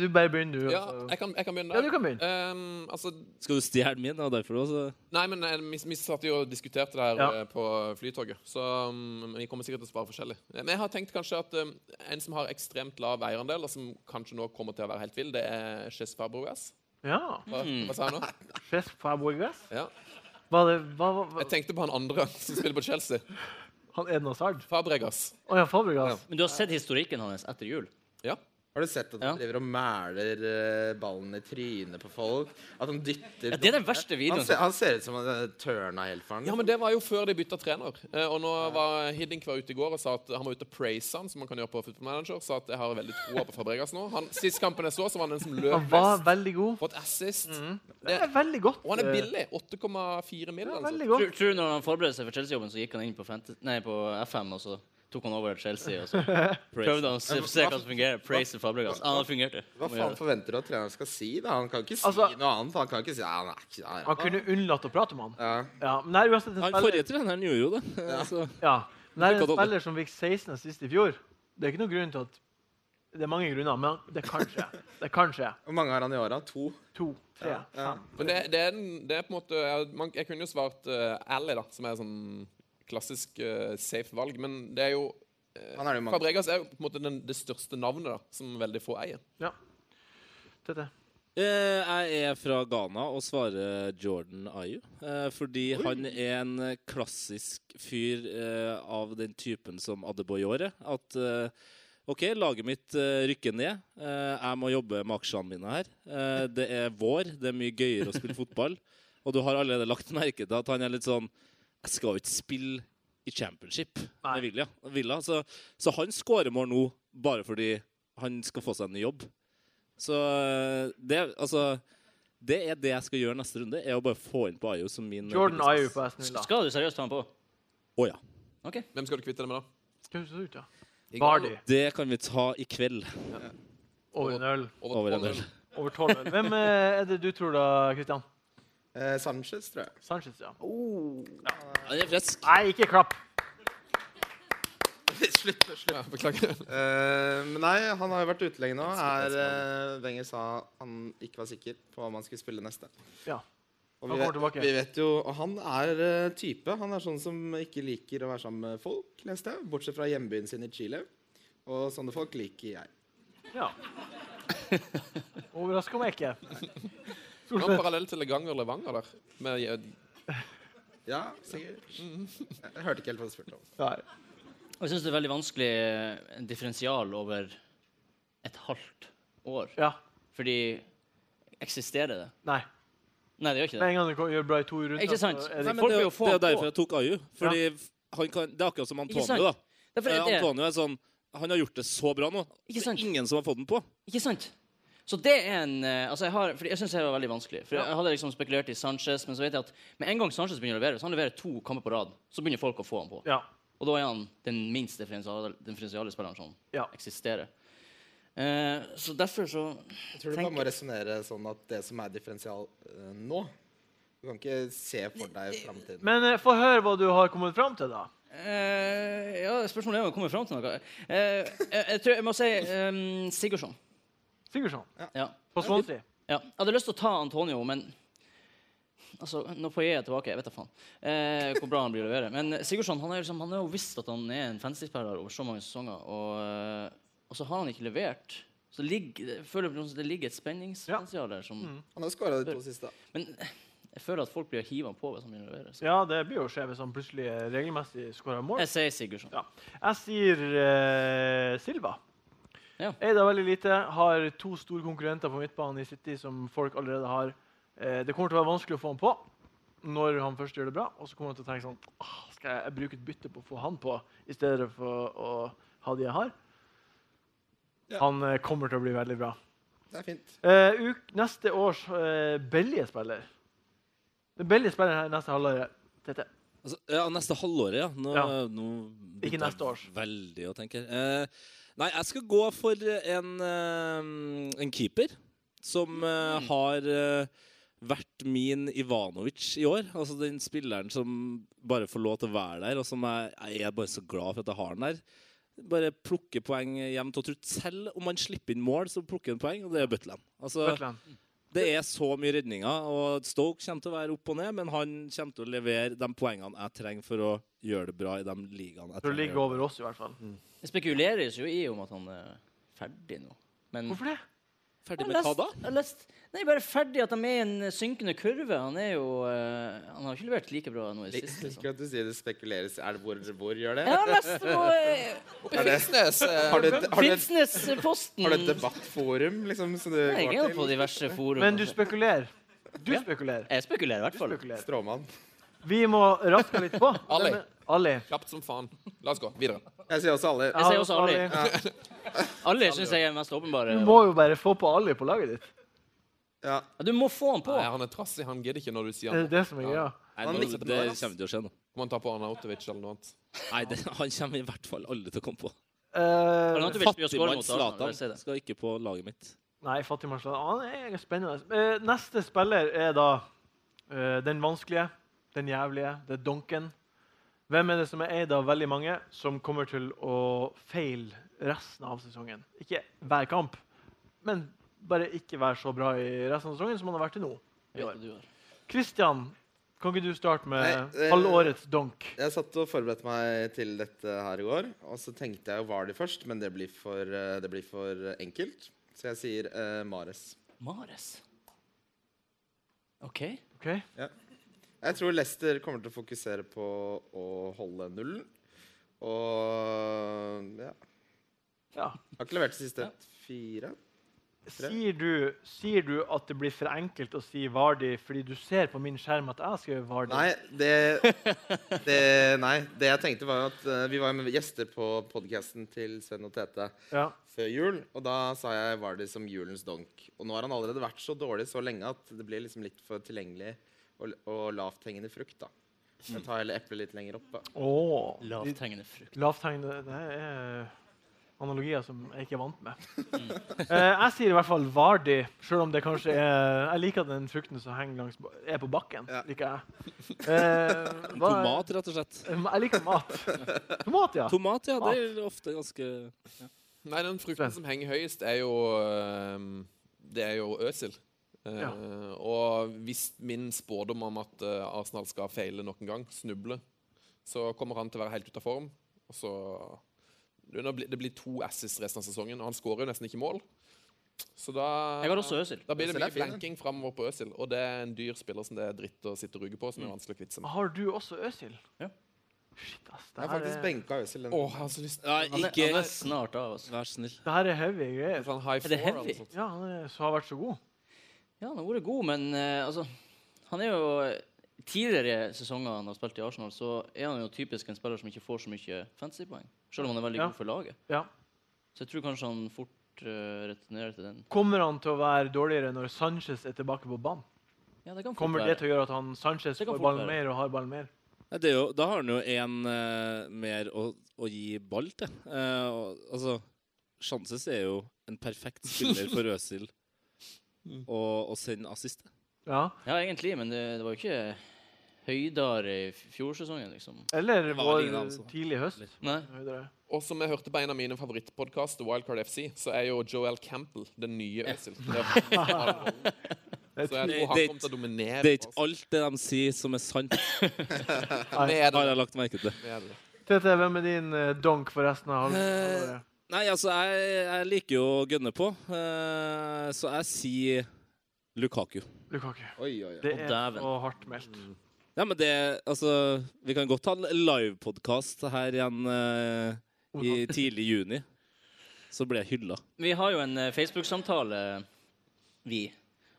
[SPEAKER 1] du bare begynner, du.
[SPEAKER 3] Ja,
[SPEAKER 1] altså.
[SPEAKER 3] jeg kan, jeg kan begynne.
[SPEAKER 1] Ja, du kan begynne.
[SPEAKER 3] Ehm, altså,
[SPEAKER 4] skal du stjele min? Og derfor også.
[SPEAKER 3] nei, men eh, vi, vi satt jo og diskuterte det her
[SPEAKER 1] Ja.
[SPEAKER 3] eh, på flytoget, så um, vi kommer sikkert til å svare forskjellig. Eh, Men jeg har tenkt kanskje at um, en som har ekstremt lav eierandel, og som kanskje nå kommer til å være helt vill, det er Chess Fabregas.
[SPEAKER 1] Ja.
[SPEAKER 3] Hva, hva sa jeg nå?
[SPEAKER 1] Chess Fabregas.
[SPEAKER 3] Ja.
[SPEAKER 1] Var det hva, hva, hva?
[SPEAKER 3] Jeg tenkte på han andre <laughs> som spiller på Chelsea.
[SPEAKER 1] Han Eden Hazard?
[SPEAKER 3] Fabregas.
[SPEAKER 1] Å ja, Fabregas.
[SPEAKER 2] Men du har sett historikken hans etter jul?
[SPEAKER 3] Ja.
[SPEAKER 5] Har du sett at han
[SPEAKER 2] Ja.
[SPEAKER 5] driver og mæler eh, ballen i trynet på folk? At han dytter
[SPEAKER 2] Ja, det er den verste videoen.
[SPEAKER 5] Han ser, han ser ut som han er tørna helt for
[SPEAKER 3] Ja,
[SPEAKER 5] han.
[SPEAKER 3] men Det var jo før de bytta trener. Eh, og nå var Hiddink var ute i går og sa at han var ute og praise han, som man kan gjøre på Football Manager. Sa at jeg har veldig troa på Fabregas nå. Han, sist kampen jeg så, så var han den som løp
[SPEAKER 1] Han var Mhm.
[SPEAKER 3] mest.
[SPEAKER 1] veldig god.
[SPEAKER 3] Fått assist.
[SPEAKER 1] Det er veldig godt.
[SPEAKER 3] Og han er
[SPEAKER 1] eh,
[SPEAKER 3] billig. altså. 8,4 mill.
[SPEAKER 1] Ja,
[SPEAKER 3] eller noe sånt.
[SPEAKER 1] veldig
[SPEAKER 2] Tror,
[SPEAKER 1] godt.
[SPEAKER 2] tror du når han forberedte seg for Chelsea-jobben, så gikk han inn på, Fant- nei, på FM, og så tok han over Chelsea, <laughs> og så prøvde han å se, se hva som fungerer. Praise Fabregas. Ja, det fungerte.
[SPEAKER 5] Hva
[SPEAKER 2] Må gjøre
[SPEAKER 5] faen
[SPEAKER 2] det.
[SPEAKER 5] forventer du at treneren skal si? da? Han kan ikke si
[SPEAKER 1] Altså-
[SPEAKER 5] noe annet. Han kan ikke si ja, han er ikke ja, ja.
[SPEAKER 1] Han kunne unnlatt å prate om han.
[SPEAKER 5] ja.
[SPEAKER 1] Ja, men det er uansett en
[SPEAKER 4] Han
[SPEAKER 1] spiller,
[SPEAKER 4] forrige treneren gjorde jo det. <laughs> Så
[SPEAKER 1] ja, men det er en
[SPEAKER 4] Ikke at han-
[SPEAKER 1] spiller som fikk 16 sist i fjor. Det er ikke noen grunn til at Det er mange grunner, men han- det kan skje. Det kan skje.
[SPEAKER 5] Hvor mange har han i åra? To?
[SPEAKER 1] To, tre, fem.
[SPEAKER 3] Men det, det, er, den- det er på en måte Jeg, man, jeg kunne jo svart uh, Ally, da, som er sånn klassisk eh, safe valg. Men det er jo
[SPEAKER 5] Han er det jo mange.
[SPEAKER 3] Fabregas er jo på en måte den, det største navnet da, som veldig få eier.
[SPEAKER 1] Tete.
[SPEAKER 4] Eh, jeg er fra Ghana og svarer Jordan Ayu. eh, fordi han er en eh, klassisk fyr eh, av den typen som Adebayor er. At eh, OK, laget mitt eh, rykker ned. Eh, jeg må jobbe med aksjene mine her. Eh, det er vår, det er mye gøyere å spille fotball. <laughs> Og du har allerede lagt merke til at han er litt sånn Jeg skal jo ikke spille i championship
[SPEAKER 1] Nei.
[SPEAKER 4] med Villa. Villa så, så han skårer mål nå bare fordi han skal få seg en ny jobb. Så eh, det, altså, det er det jeg skal gjøre neste runde. Er å bare få inn på Ayo som min eh,
[SPEAKER 1] Jordan
[SPEAKER 4] byggespiss.
[SPEAKER 1] Ayew på Aston Villa.
[SPEAKER 2] Skal du seriøst ta han på?
[SPEAKER 4] Å ja.
[SPEAKER 2] OK.
[SPEAKER 3] Hvem skal du kvitte deg med, da?
[SPEAKER 1] Hvem ser ut, da? Vardy.
[SPEAKER 4] Det kan vi ta i kveld.
[SPEAKER 1] Over en øl.
[SPEAKER 4] Over en del.
[SPEAKER 1] Over tolv øl. Hvem eh, er det du tror, da, Christian?
[SPEAKER 5] Eh, Sanchez, tror jeg.
[SPEAKER 1] Sanchez, ja.
[SPEAKER 4] Han er frisk.
[SPEAKER 1] Nei, ikke klapp.
[SPEAKER 5] slutt, slutt.
[SPEAKER 3] Ja, beklager.
[SPEAKER 5] Eh, men nei, han har jo vært ute lenge nå. Er, eh, Wenger sa han ikke var sikker på om han skulle spille neste.
[SPEAKER 1] Ja.
[SPEAKER 5] Og
[SPEAKER 1] Han
[SPEAKER 5] vi
[SPEAKER 1] kommer
[SPEAKER 5] vet,
[SPEAKER 1] tilbake.
[SPEAKER 5] vi vet jo, og han er eh, type. Han er sånn som ikke liker å være sammen med folk, leste jeg. Bortsett fra hjembyen sin i Chile. Og sånne folk liker jeg.
[SPEAKER 1] ja. Overrasker meg ikke.
[SPEAKER 3] Det var en parallell til Leganger og Levanger der. Med,
[SPEAKER 5] Ja, sikkert.
[SPEAKER 2] Mm.
[SPEAKER 5] Jeg hørte ikke helt hva du spurte om.
[SPEAKER 1] Nei.
[SPEAKER 2] Og Jeg syns det er veldig vanskelig eh, en differensial over et halvt år.
[SPEAKER 1] Ja.
[SPEAKER 2] Fordi eksisterer det?
[SPEAKER 1] Nei.
[SPEAKER 2] Nei, det gjør ikke
[SPEAKER 1] Med
[SPEAKER 2] det.
[SPEAKER 1] en gang du kom- gjør bra i to runder,
[SPEAKER 2] Ikke sant?
[SPEAKER 1] så er
[SPEAKER 4] Nei,
[SPEAKER 1] det
[SPEAKER 4] men
[SPEAKER 2] Folk
[SPEAKER 4] det, er
[SPEAKER 2] vil
[SPEAKER 4] jo-
[SPEAKER 2] jo få
[SPEAKER 4] det er
[SPEAKER 2] han på.
[SPEAKER 4] derfor jeg tok Ayu. Fordi han kan, det er akkurat som
[SPEAKER 2] Ikke sant?
[SPEAKER 4] Antonio. da.
[SPEAKER 2] Derfor
[SPEAKER 4] Eh,
[SPEAKER 2] er det
[SPEAKER 4] Antonio er sånn Han har gjort det så bra nå.
[SPEAKER 2] Ikke
[SPEAKER 4] Det
[SPEAKER 2] sant?
[SPEAKER 4] er ingen som har fått den på.
[SPEAKER 2] Ikke sant? Så det er en eh, Altså, jeg har Fordi jeg syns det var veldig vanskelig. For jeg hadde liksom spekulert i Sanchez, men så vet jeg at med en gang Sanchez begynner å levere, så han leverer to kamper på rad, så begynner folk å få han på.
[SPEAKER 1] Ja.
[SPEAKER 2] Og da er han den minst differensiale, differensiale spilleren som
[SPEAKER 1] Ja.
[SPEAKER 2] eksisterer. Eh, så derfor så
[SPEAKER 5] Jeg tror du bare må resonnere sånn at det som er differensial eh, nå Du kan ikke se for deg framtiden.
[SPEAKER 1] Men eh, få høre hva du har kommet fram til, da.
[SPEAKER 2] eh, Ja, spørsmålet er om jeg kommer fram til noe. Eh, jeg, jeg tror jeg må si um, Sigurdsson.
[SPEAKER 1] Sigurdsson.
[SPEAKER 2] Ja.
[SPEAKER 1] På Swansea.
[SPEAKER 2] Ja. Jeg hadde lyst til å ta Antonio, men altså, nå får jeg tilbake. Jeg vet da faen eh, hvor bra han blir å levere. Men Sigurdsson han er, jo liksom, han er jo visst at han er en fantasy-spiller over så mange sesonger, og, eh, og så har han ikke levert. Så det ligger, jeg føler på noe som det ligger et spenningspotensial der som
[SPEAKER 5] Han har skåra de to siste.
[SPEAKER 2] Men jeg føler at folk blir hivet på hvis han begynner å levere. Så.
[SPEAKER 1] Ja, det blir jo skje hvis han plutselig eh, regelmessig skårer mål.
[SPEAKER 2] Jeg sier Sigurdsson.
[SPEAKER 1] Ja. Jeg sier eh, Silva.
[SPEAKER 2] Ja.
[SPEAKER 1] Eid har veldig lite. Har to store konkurrenter på midtbanen i City som folk allerede har. Eh, det kommer til å være vanskelig å få han på når han først gjør det bra. Og så kommer han til å tenke sånn «Åh, Skal jeg bruke et bytte på å få han på i stedet for å ha de jeg har?
[SPEAKER 5] Ja.
[SPEAKER 1] Han eh, kommer til å bli veldig bra.
[SPEAKER 5] Det er fint.
[SPEAKER 1] Eh, uk, neste års eh, Bellie-spiller Den Bellie-spilleren her neste halvår Tete.
[SPEAKER 4] Altså, ja, neste halvåret, ja. Nå,
[SPEAKER 1] Ja.
[SPEAKER 4] nå
[SPEAKER 1] Ikke
[SPEAKER 4] begynte jeg
[SPEAKER 1] neste års.
[SPEAKER 4] Veldig å tenke. Eh, nei, jeg skal gå for en, eh, en keeper som
[SPEAKER 1] Mm.
[SPEAKER 4] eh, har eh, vært min Ivanovic i år. Altså den spilleren som bare får lov til å være der, og som jeg, jeg er bare så glad for at jeg har han der. Bare plukke poeng jevnt og trutt. Selv om han slipper inn mål, så plukker han poeng, og det er Butland. Altså,
[SPEAKER 1] Bøtland.
[SPEAKER 4] det er så mye redninger, og Stoke kommer til å være opp og ned, men han kommer til å levere de poengene jeg trenger for å gjøre det bra i de ligaene. jeg
[SPEAKER 1] For å
[SPEAKER 4] trenger å
[SPEAKER 1] ligge
[SPEAKER 4] gjøre
[SPEAKER 1] over oss, i hvert fall.
[SPEAKER 2] Det spekuleres jo i om at han er ferdig nå. Men
[SPEAKER 1] Hvorfor det?
[SPEAKER 4] det. Ferdig
[SPEAKER 2] Jeg
[SPEAKER 4] med
[SPEAKER 2] lest-
[SPEAKER 4] hva da?
[SPEAKER 2] Jeg lest, nei, bare ferdig at de er i en synkende kurve. Han er jo eh, Han har ikke levert like bra nå i det
[SPEAKER 5] Lik-
[SPEAKER 2] siste.
[SPEAKER 5] Liker <laughs>
[SPEAKER 2] Liksom.
[SPEAKER 5] at du sier det spekuleres. Er det hvor, hvor gjør det?
[SPEAKER 2] Jeg har lest det på eh,
[SPEAKER 3] Oppe i Finnsnes. eh,
[SPEAKER 5] Har du, et- har, du et,
[SPEAKER 2] Finnsnesposten.
[SPEAKER 5] har du et debattforum liksom, som du
[SPEAKER 2] Nei, Jeg er
[SPEAKER 5] går
[SPEAKER 2] nå på
[SPEAKER 5] til?
[SPEAKER 2] diverse forum.
[SPEAKER 1] Men du spekulerer. Du spekulerer.
[SPEAKER 2] jeg spekulerer i hvert
[SPEAKER 1] Du
[SPEAKER 2] fall.
[SPEAKER 1] spekulerer.
[SPEAKER 5] Stråmann.
[SPEAKER 1] Vi må raske
[SPEAKER 2] <laughs>
[SPEAKER 1] litt på.
[SPEAKER 3] Ali.
[SPEAKER 1] Denne- Ali.
[SPEAKER 3] Kjapt som faen. La oss gå videre.
[SPEAKER 5] Jeg sier også alle.
[SPEAKER 2] Jeg sier også Ali. Ali syns jeg er mest åpenbare.
[SPEAKER 1] Du må jo bare få på Ali på laget ditt.
[SPEAKER 5] Ja.
[SPEAKER 2] Ja, Du må få han på.
[SPEAKER 3] Nei, han er trassig. Han gidder ikke når du sier
[SPEAKER 1] Det
[SPEAKER 3] han.
[SPEAKER 1] er det som er greia.
[SPEAKER 4] Nei,
[SPEAKER 5] Han
[SPEAKER 4] nå,
[SPEAKER 5] likte
[SPEAKER 4] det
[SPEAKER 5] det
[SPEAKER 4] kommer
[SPEAKER 5] der, ass.
[SPEAKER 4] ikke til å skje nå.
[SPEAKER 3] Må han ta på Arnautovic eller noe annet?
[SPEAKER 4] <laughs> Nei, det, han kommer i hvert fall aldri til å komme på.
[SPEAKER 1] Eh,
[SPEAKER 2] Arnautovic blir å score
[SPEAKER 4] Fattigmann
[SPEAKER 2] mot Arsenal, bare si
[SPEAKER 4] Zlatan
[SPEAKER 2] det.
[SPEAKER 4] skal ikke på laget mitt.
[SPEAKER 1] nei, Fatih Marsland. Han er spennende. Eh, neste spiller er da eh, den vanskelige, den jævlige, det er donken. Hvem er det som er eid av veldig mange som kommer til å feile resten av sesongen? Ikke hver kamp, men bare ikke være så bra i resten av sesongen som han har vært til nå.
[SPEAKER 2] Jeg vet hva du har.
[SPEAKER 1] Kristian, kan ikke du starte med
[SPEAKER 5] Nei, eh,
[SPEAKER 1] halvårets donk?
[SPEAKER 5] Jeg satt og forberedte meg til dette her i går, og så tenkte jeg jo var det først, men det blir for, eh, det blir for enkelt. Så jeg sier eh, Mares.
[SPEAKER 2] Mares. OK.
[SPEAKER 1] Ok?
[SPEAKER 5] Jeg tror Leicester kommer til å fokusere på å holde nullen. Og ja.
[SPEAKER 1] Ja.
[SPEAKER 5] Har ikke levert de siste fire. Tre.
[SPEAKER 1] Sier du, sier du at det blir for enkelt å si Vardi fordi du ser på min skjerm at jeg har skrevet Vardi?
[SPEAKER 5] Nei, det, det Nei. Det jeg tenkte, var at eh, vi var med gjester på podkasten til Sven og Tete
[SPEAKER 1] Ja.
[SPEAKER 5] før jul, og da sa jeg Vardy som julens donk. Og nå har han allerede vært så dårlig så lenge at det blir liksom litt for tilgjengelig og, og lavthengende frukt, da. Jeg tar heller eplet litt lenger opp, da.
[SPEAKER 1] Åh, de-
[SPEAKER 2] Lavthengende frukt.
[SPEAKER 1] Lavtegnede Det er analogier som jeg ikke er vant med. Eh, jeg sier i hvert fall Vardi, selv om det kanskje er Jeg liker den frukten som henger langs, ba- er på bakken.
[SPEAKER 5] Ja.
[SPEAKER 1] liker jeg. Eh,
[SPEAKER 4] En
[SPEAKER 1] hva-
[SPEAKER 4] tomat, rett og slett.
[SPEAKER 1] Jeg liker mat. Tomat, ja.
[SPEAKER 4] Tomat, ja. Det er ofte ganske
[SPEAKER 3] Nei, den frukten
[SPEAKER 1] Sven.
[SPEAKER 3] som henger høyest, er jo ehm, Det er jo Øsil. Eh,
[SPEAKER 1] Ja.
[SPEAKER 3] Og hvis min spådom om at eh, Arsenal skal feile nok en gang, snuble, så kommer han til å være helt ute av form. Og så det blir- Det blir to asses resten av sesongen, og han skårer jo nesten ikke mål. Så da
[SPEAKER 2] Jeg har også Øsil.
[SPEAKER 3] Da blir det
[SPEAKER 5] Øsil er
[SPEAKER 3] mye
[SPEAKER 5] fin, den.
[SPEAKER 3] flanking framover på Øsil, og det er en dyr spiller som det er dritt å sitte og ruge på, som er vanskelig å kvitte seg med.
[SPEAKER 1] Har du også Øsil?
[SPEAKER 2] Ja.
[SPEAKER 1] Shit, ass. Det
[SPEAKER 5] Jeg har
[SPEAKER 1] her
[SPEAKER 5] faktisk
[SPEAKER 1] er,
[SPEAKER 5] benka Øzil. den-
[SPEAKER 3] Åh, jeg har så lyst
[SPEAKER 4] Nei,
[SPEAKER 2] Han er,
[SPEAKER 4] ikke
[SPEAKER 2] han er snart av, altså.
[SPEAKER 4] Vær snill.
[SPEAKER 1] det her er heavy greier.
[SPEAKER 3] Sånn high
[SPEAKER 2] Er det
[SPEAKER 3] four eller
[SPEAKER 2] heavy?
[SPEAKER 3] noe sånt.
[SPEAKER 1] Ja, han er, så har vært så god.
[SPEAKER 2] Ja, han har vært god, men eh, altså Han er jo eh, Tidligere sesonger han har spilt i Arsenal, så er han jo typisk en spiller som ikke får så mye fantasypoeng. Selv om han er veldig
[SPEAKER 1] Ja.
[SPEAKER 2] god for laget.
[SPEAKER 1] Ja.
[SPEAKER 2] Så jeg tror kanskje han fort eh, returnerer til den.
[SPEAKER 1] Kommer han til å være dårligere når Sanchez er tilbake på banen?
[SPEAKER 2] Ja, det kan fort
[SPEAKER 1] Kommer det
[SPEAKER 2] være.
[SPEAKER 1] til å gjøre at han Sanchez
[SPEAKER 2] Det kan
[SPEAKER 1] får
[SPEAKER 2] fort
[SPEAKER 1] ballen
[SPEAKER 2] være.
[SPEAKER 1] mer og har ballen mer?
[SPEAKER 4] Nei, det er jo, da har han jo én mer å, å gi ball til. Eh, og, altså, Chances er jo en perfekt spiller for Øsil og, og sende assist.
[SPEAKER 1] Ja.
[SPEAKER 2] Ja, egentlig, men det, det var jo ikke høydere i f- fjorsesongen, liksom.
[SPEAKER 1] Eller
[SPEAKER 4] var
[SPEAKER 1] vår
[SPEAKER 4] ingen anelse.
[SPEAKER 1] tidlig høst.
[SPEAKER 2] Nei.
[SPEAKER 1] Høydere.
[SPEAKER 3] Og som jeg hørte på en av mine favorittpodkaster, Wildcard FC, så er jo Joel Campbell den nye Øzil. Det er-
[SPEAKER 1] Det er tidlig.
[SPEAKER 3] Så jeg tror han
[SPEAKER 4] Det-
[SPEAKER 3] kommer til å dominere.
[SPEAKER 4] Det er ikke
[SPEAKER 3] altså.
[SPEAKER 4] alt det de sier, som er <laughs> sant.
[SPEAKER 3] Det er det.
[SPEAKER 4] Har jeg lagt merke til.
[SPEAKER 3] Det er det.
[SPEAKER 1] Tete, hvem er din eh, donk for resten av halvåret?
[SPEAKER 4] Nei, altså, jeg, jeg liker jo å gønne på, eh, så jeg sier Lukaku.
[SPEAKER 1] Lukaku.
[SPEAKER 5] Oi, oi, oi.
[SPEAKER 1] Det
[SPEAKER 2] Å,
[SPEAKER 1] er
[SPEAKER 2] dæven.
[SPEAKER 1] så hardt meldt.
[SPEAKER 4] Ja, men det Altså, vi kan godt ha en livepodkast her igjen eh, i tidlig juni. Så blir jeg hylla.
[SPEAKER 2] Vi har jo en eh, Facebook-samtale, vi.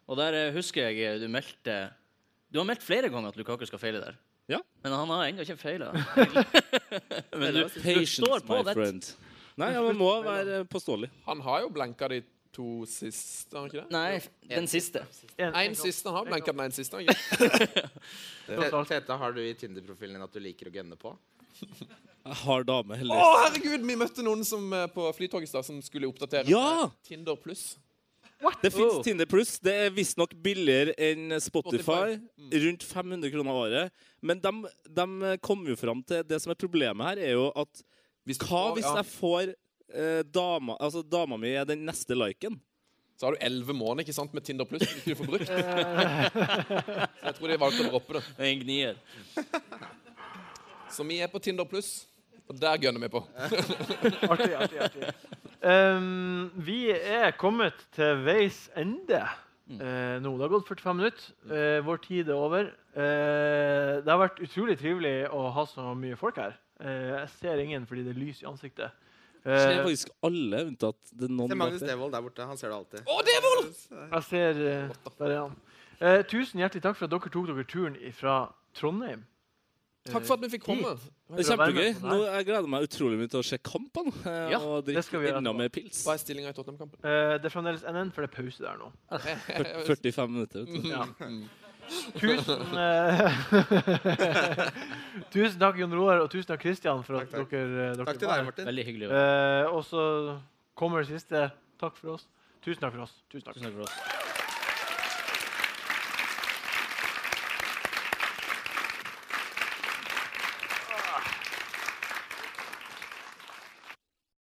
[SPEAKER 2] Og der eh, husker jeg eh, du meldte Du har meldt flere ganger at Lukaku skal feile der.
[SPEAKER 4] Ja.
[SPEAKER 2] Men han har ennå ikke
[SPEAKER 4] <laughs>
[SPEAKER 2] feila. <laughs> Men du, du
[SPEAKER 4] Patience,
[SPEAKER 2] står på
[SPEAKER 4] my
[SPEAKER 2] det.
[SPEAKER 4] friend. <laughs> Nei, ja, man må være påståelig.
[SPEAKER 3] Han har jo blanka de to siste, har han ikke det?
[SPEAKER 2] Nei, den siste.
[SPEAKER 1] En- en
[SPEAKER 3] En
[SPEAKER 1] kamp.
[SPEAKER 3] siste. Han har blanka den ene siste. har han ikke det?
[SPEAKER 5] Te- Tete, har du i Tinder-profilen din at du liker å gunne på?
[SPEAKER 4] Hard dame,
[SPEAKER 3] Å,
[SPEAKER 4] heldigvis.
[SPEAKER 3] herregud! Vi møtte noen som, eh, på Flytoget i stad som skulle oppdatere
[SPEAKER 4] Ja!
[SPEAKER 3] med Tinder pluss.
[SPEAKER 4] Det fins
[SPEAKER 3] Oh.
[SPEAKER 4] Tinder Pluss. Det er visstnok billigere enn Spotify.
[SPEAKER 3] Spotify. Mm.
[SPEAKER 4] Rundt 500 kroner året. Men de, kom jo fram til Det som er problemet her, er jo at
[SPEAKER 3] Hvis du
[SPEAKER 4] Hva
[SPEAKER 3] får-
[SPEAKER 4] hvis
[SPEAKER 3] ja,
[SPEAKER 4] jeg får eh, dama Altså, dama mi er den neste liken?
[SPEAKER 3] Så har du elleve måneder ikke sant, med Tinder pluss som ikke du får brukt. Så jeg tror de valgte å droppe det.
[SPEAKER 2] En gnier.
[SPEAKER 3] Så vi er på Tinder pluss, og der gønner vi på.
[SPEAKER 1] Artig, artig, artig. Ehm, vi er kommet til veis ende
[SPEAKER 3] Mm.
[SPEAKER 1] eh, nå. Det har gått 45 minutter. Eh, vår tid er over. Eh, det har vært utrolig trivelig å ha så mye folk her. Eh, jeg ser ingen fordi det er lys i ansiktet.
[SPEAKER 4] Jeg
[SPEAKER 1] Eh,
[SPEAKER 4] ser faktisk alle, unntatt det er
[SPEAKER 5] Se
[SPEAKER 4] noen
[SPEAKER 5] Magnus
[SPEAKER 4] bak der.
[SPEAKER 5] Devold der borte. Han ser det alltid.
[SPEAKER 1] jeg ser eh, Der er han. Eh, tusen hjertelig takk for at dere tok dere turen fra Trondheim.
[SPEAKER 3] Takk for at vi fikk komme.
[SPEAKER 4] Det er kjempegøy. Nå, jeg gleder meg utrolig mye til å se kampene eh,
[SPEAKER 1] Ja,
[SPEAKER 4] og
[SPEAKER 1] det skal vi gjøre
[SPEAKER 4] drikke enda
[SPEAKER 1] etterpå.
[SPEAKER 4] mer pils.
[SPEAKER 3] Hva er stillinga i Tottenham-kampen?
[SPEAKER 1] Eh, det er fremdeles NN, for det er pause der nå.
[SPEAKER 4] 45 minutter. Vet du.
[SPEAKER 1] Ja.
[SPEAKER 5] Mm. <laughs>
[SPEAKER 1] Tusen, eh, <laughs> tusen takk, Jon Roar, og tusen takk, Kristian, for at
[SPEAKER 5] Takk, takk.
[SPEAKER 1] dere, eh, dere
[SPEAKER 5] Takk til
[SPEAKER 1] var her.
[SPEAKER 5] deg, Martin.
[SPEAKER 2] Veldig hyggelig. å-
[SPEAKER 1] Eh, og så kommer det siste. Takk for oss. Tusen takk for oss. Tusen takk.
[SPEAKER 2] Tusen takk for oss.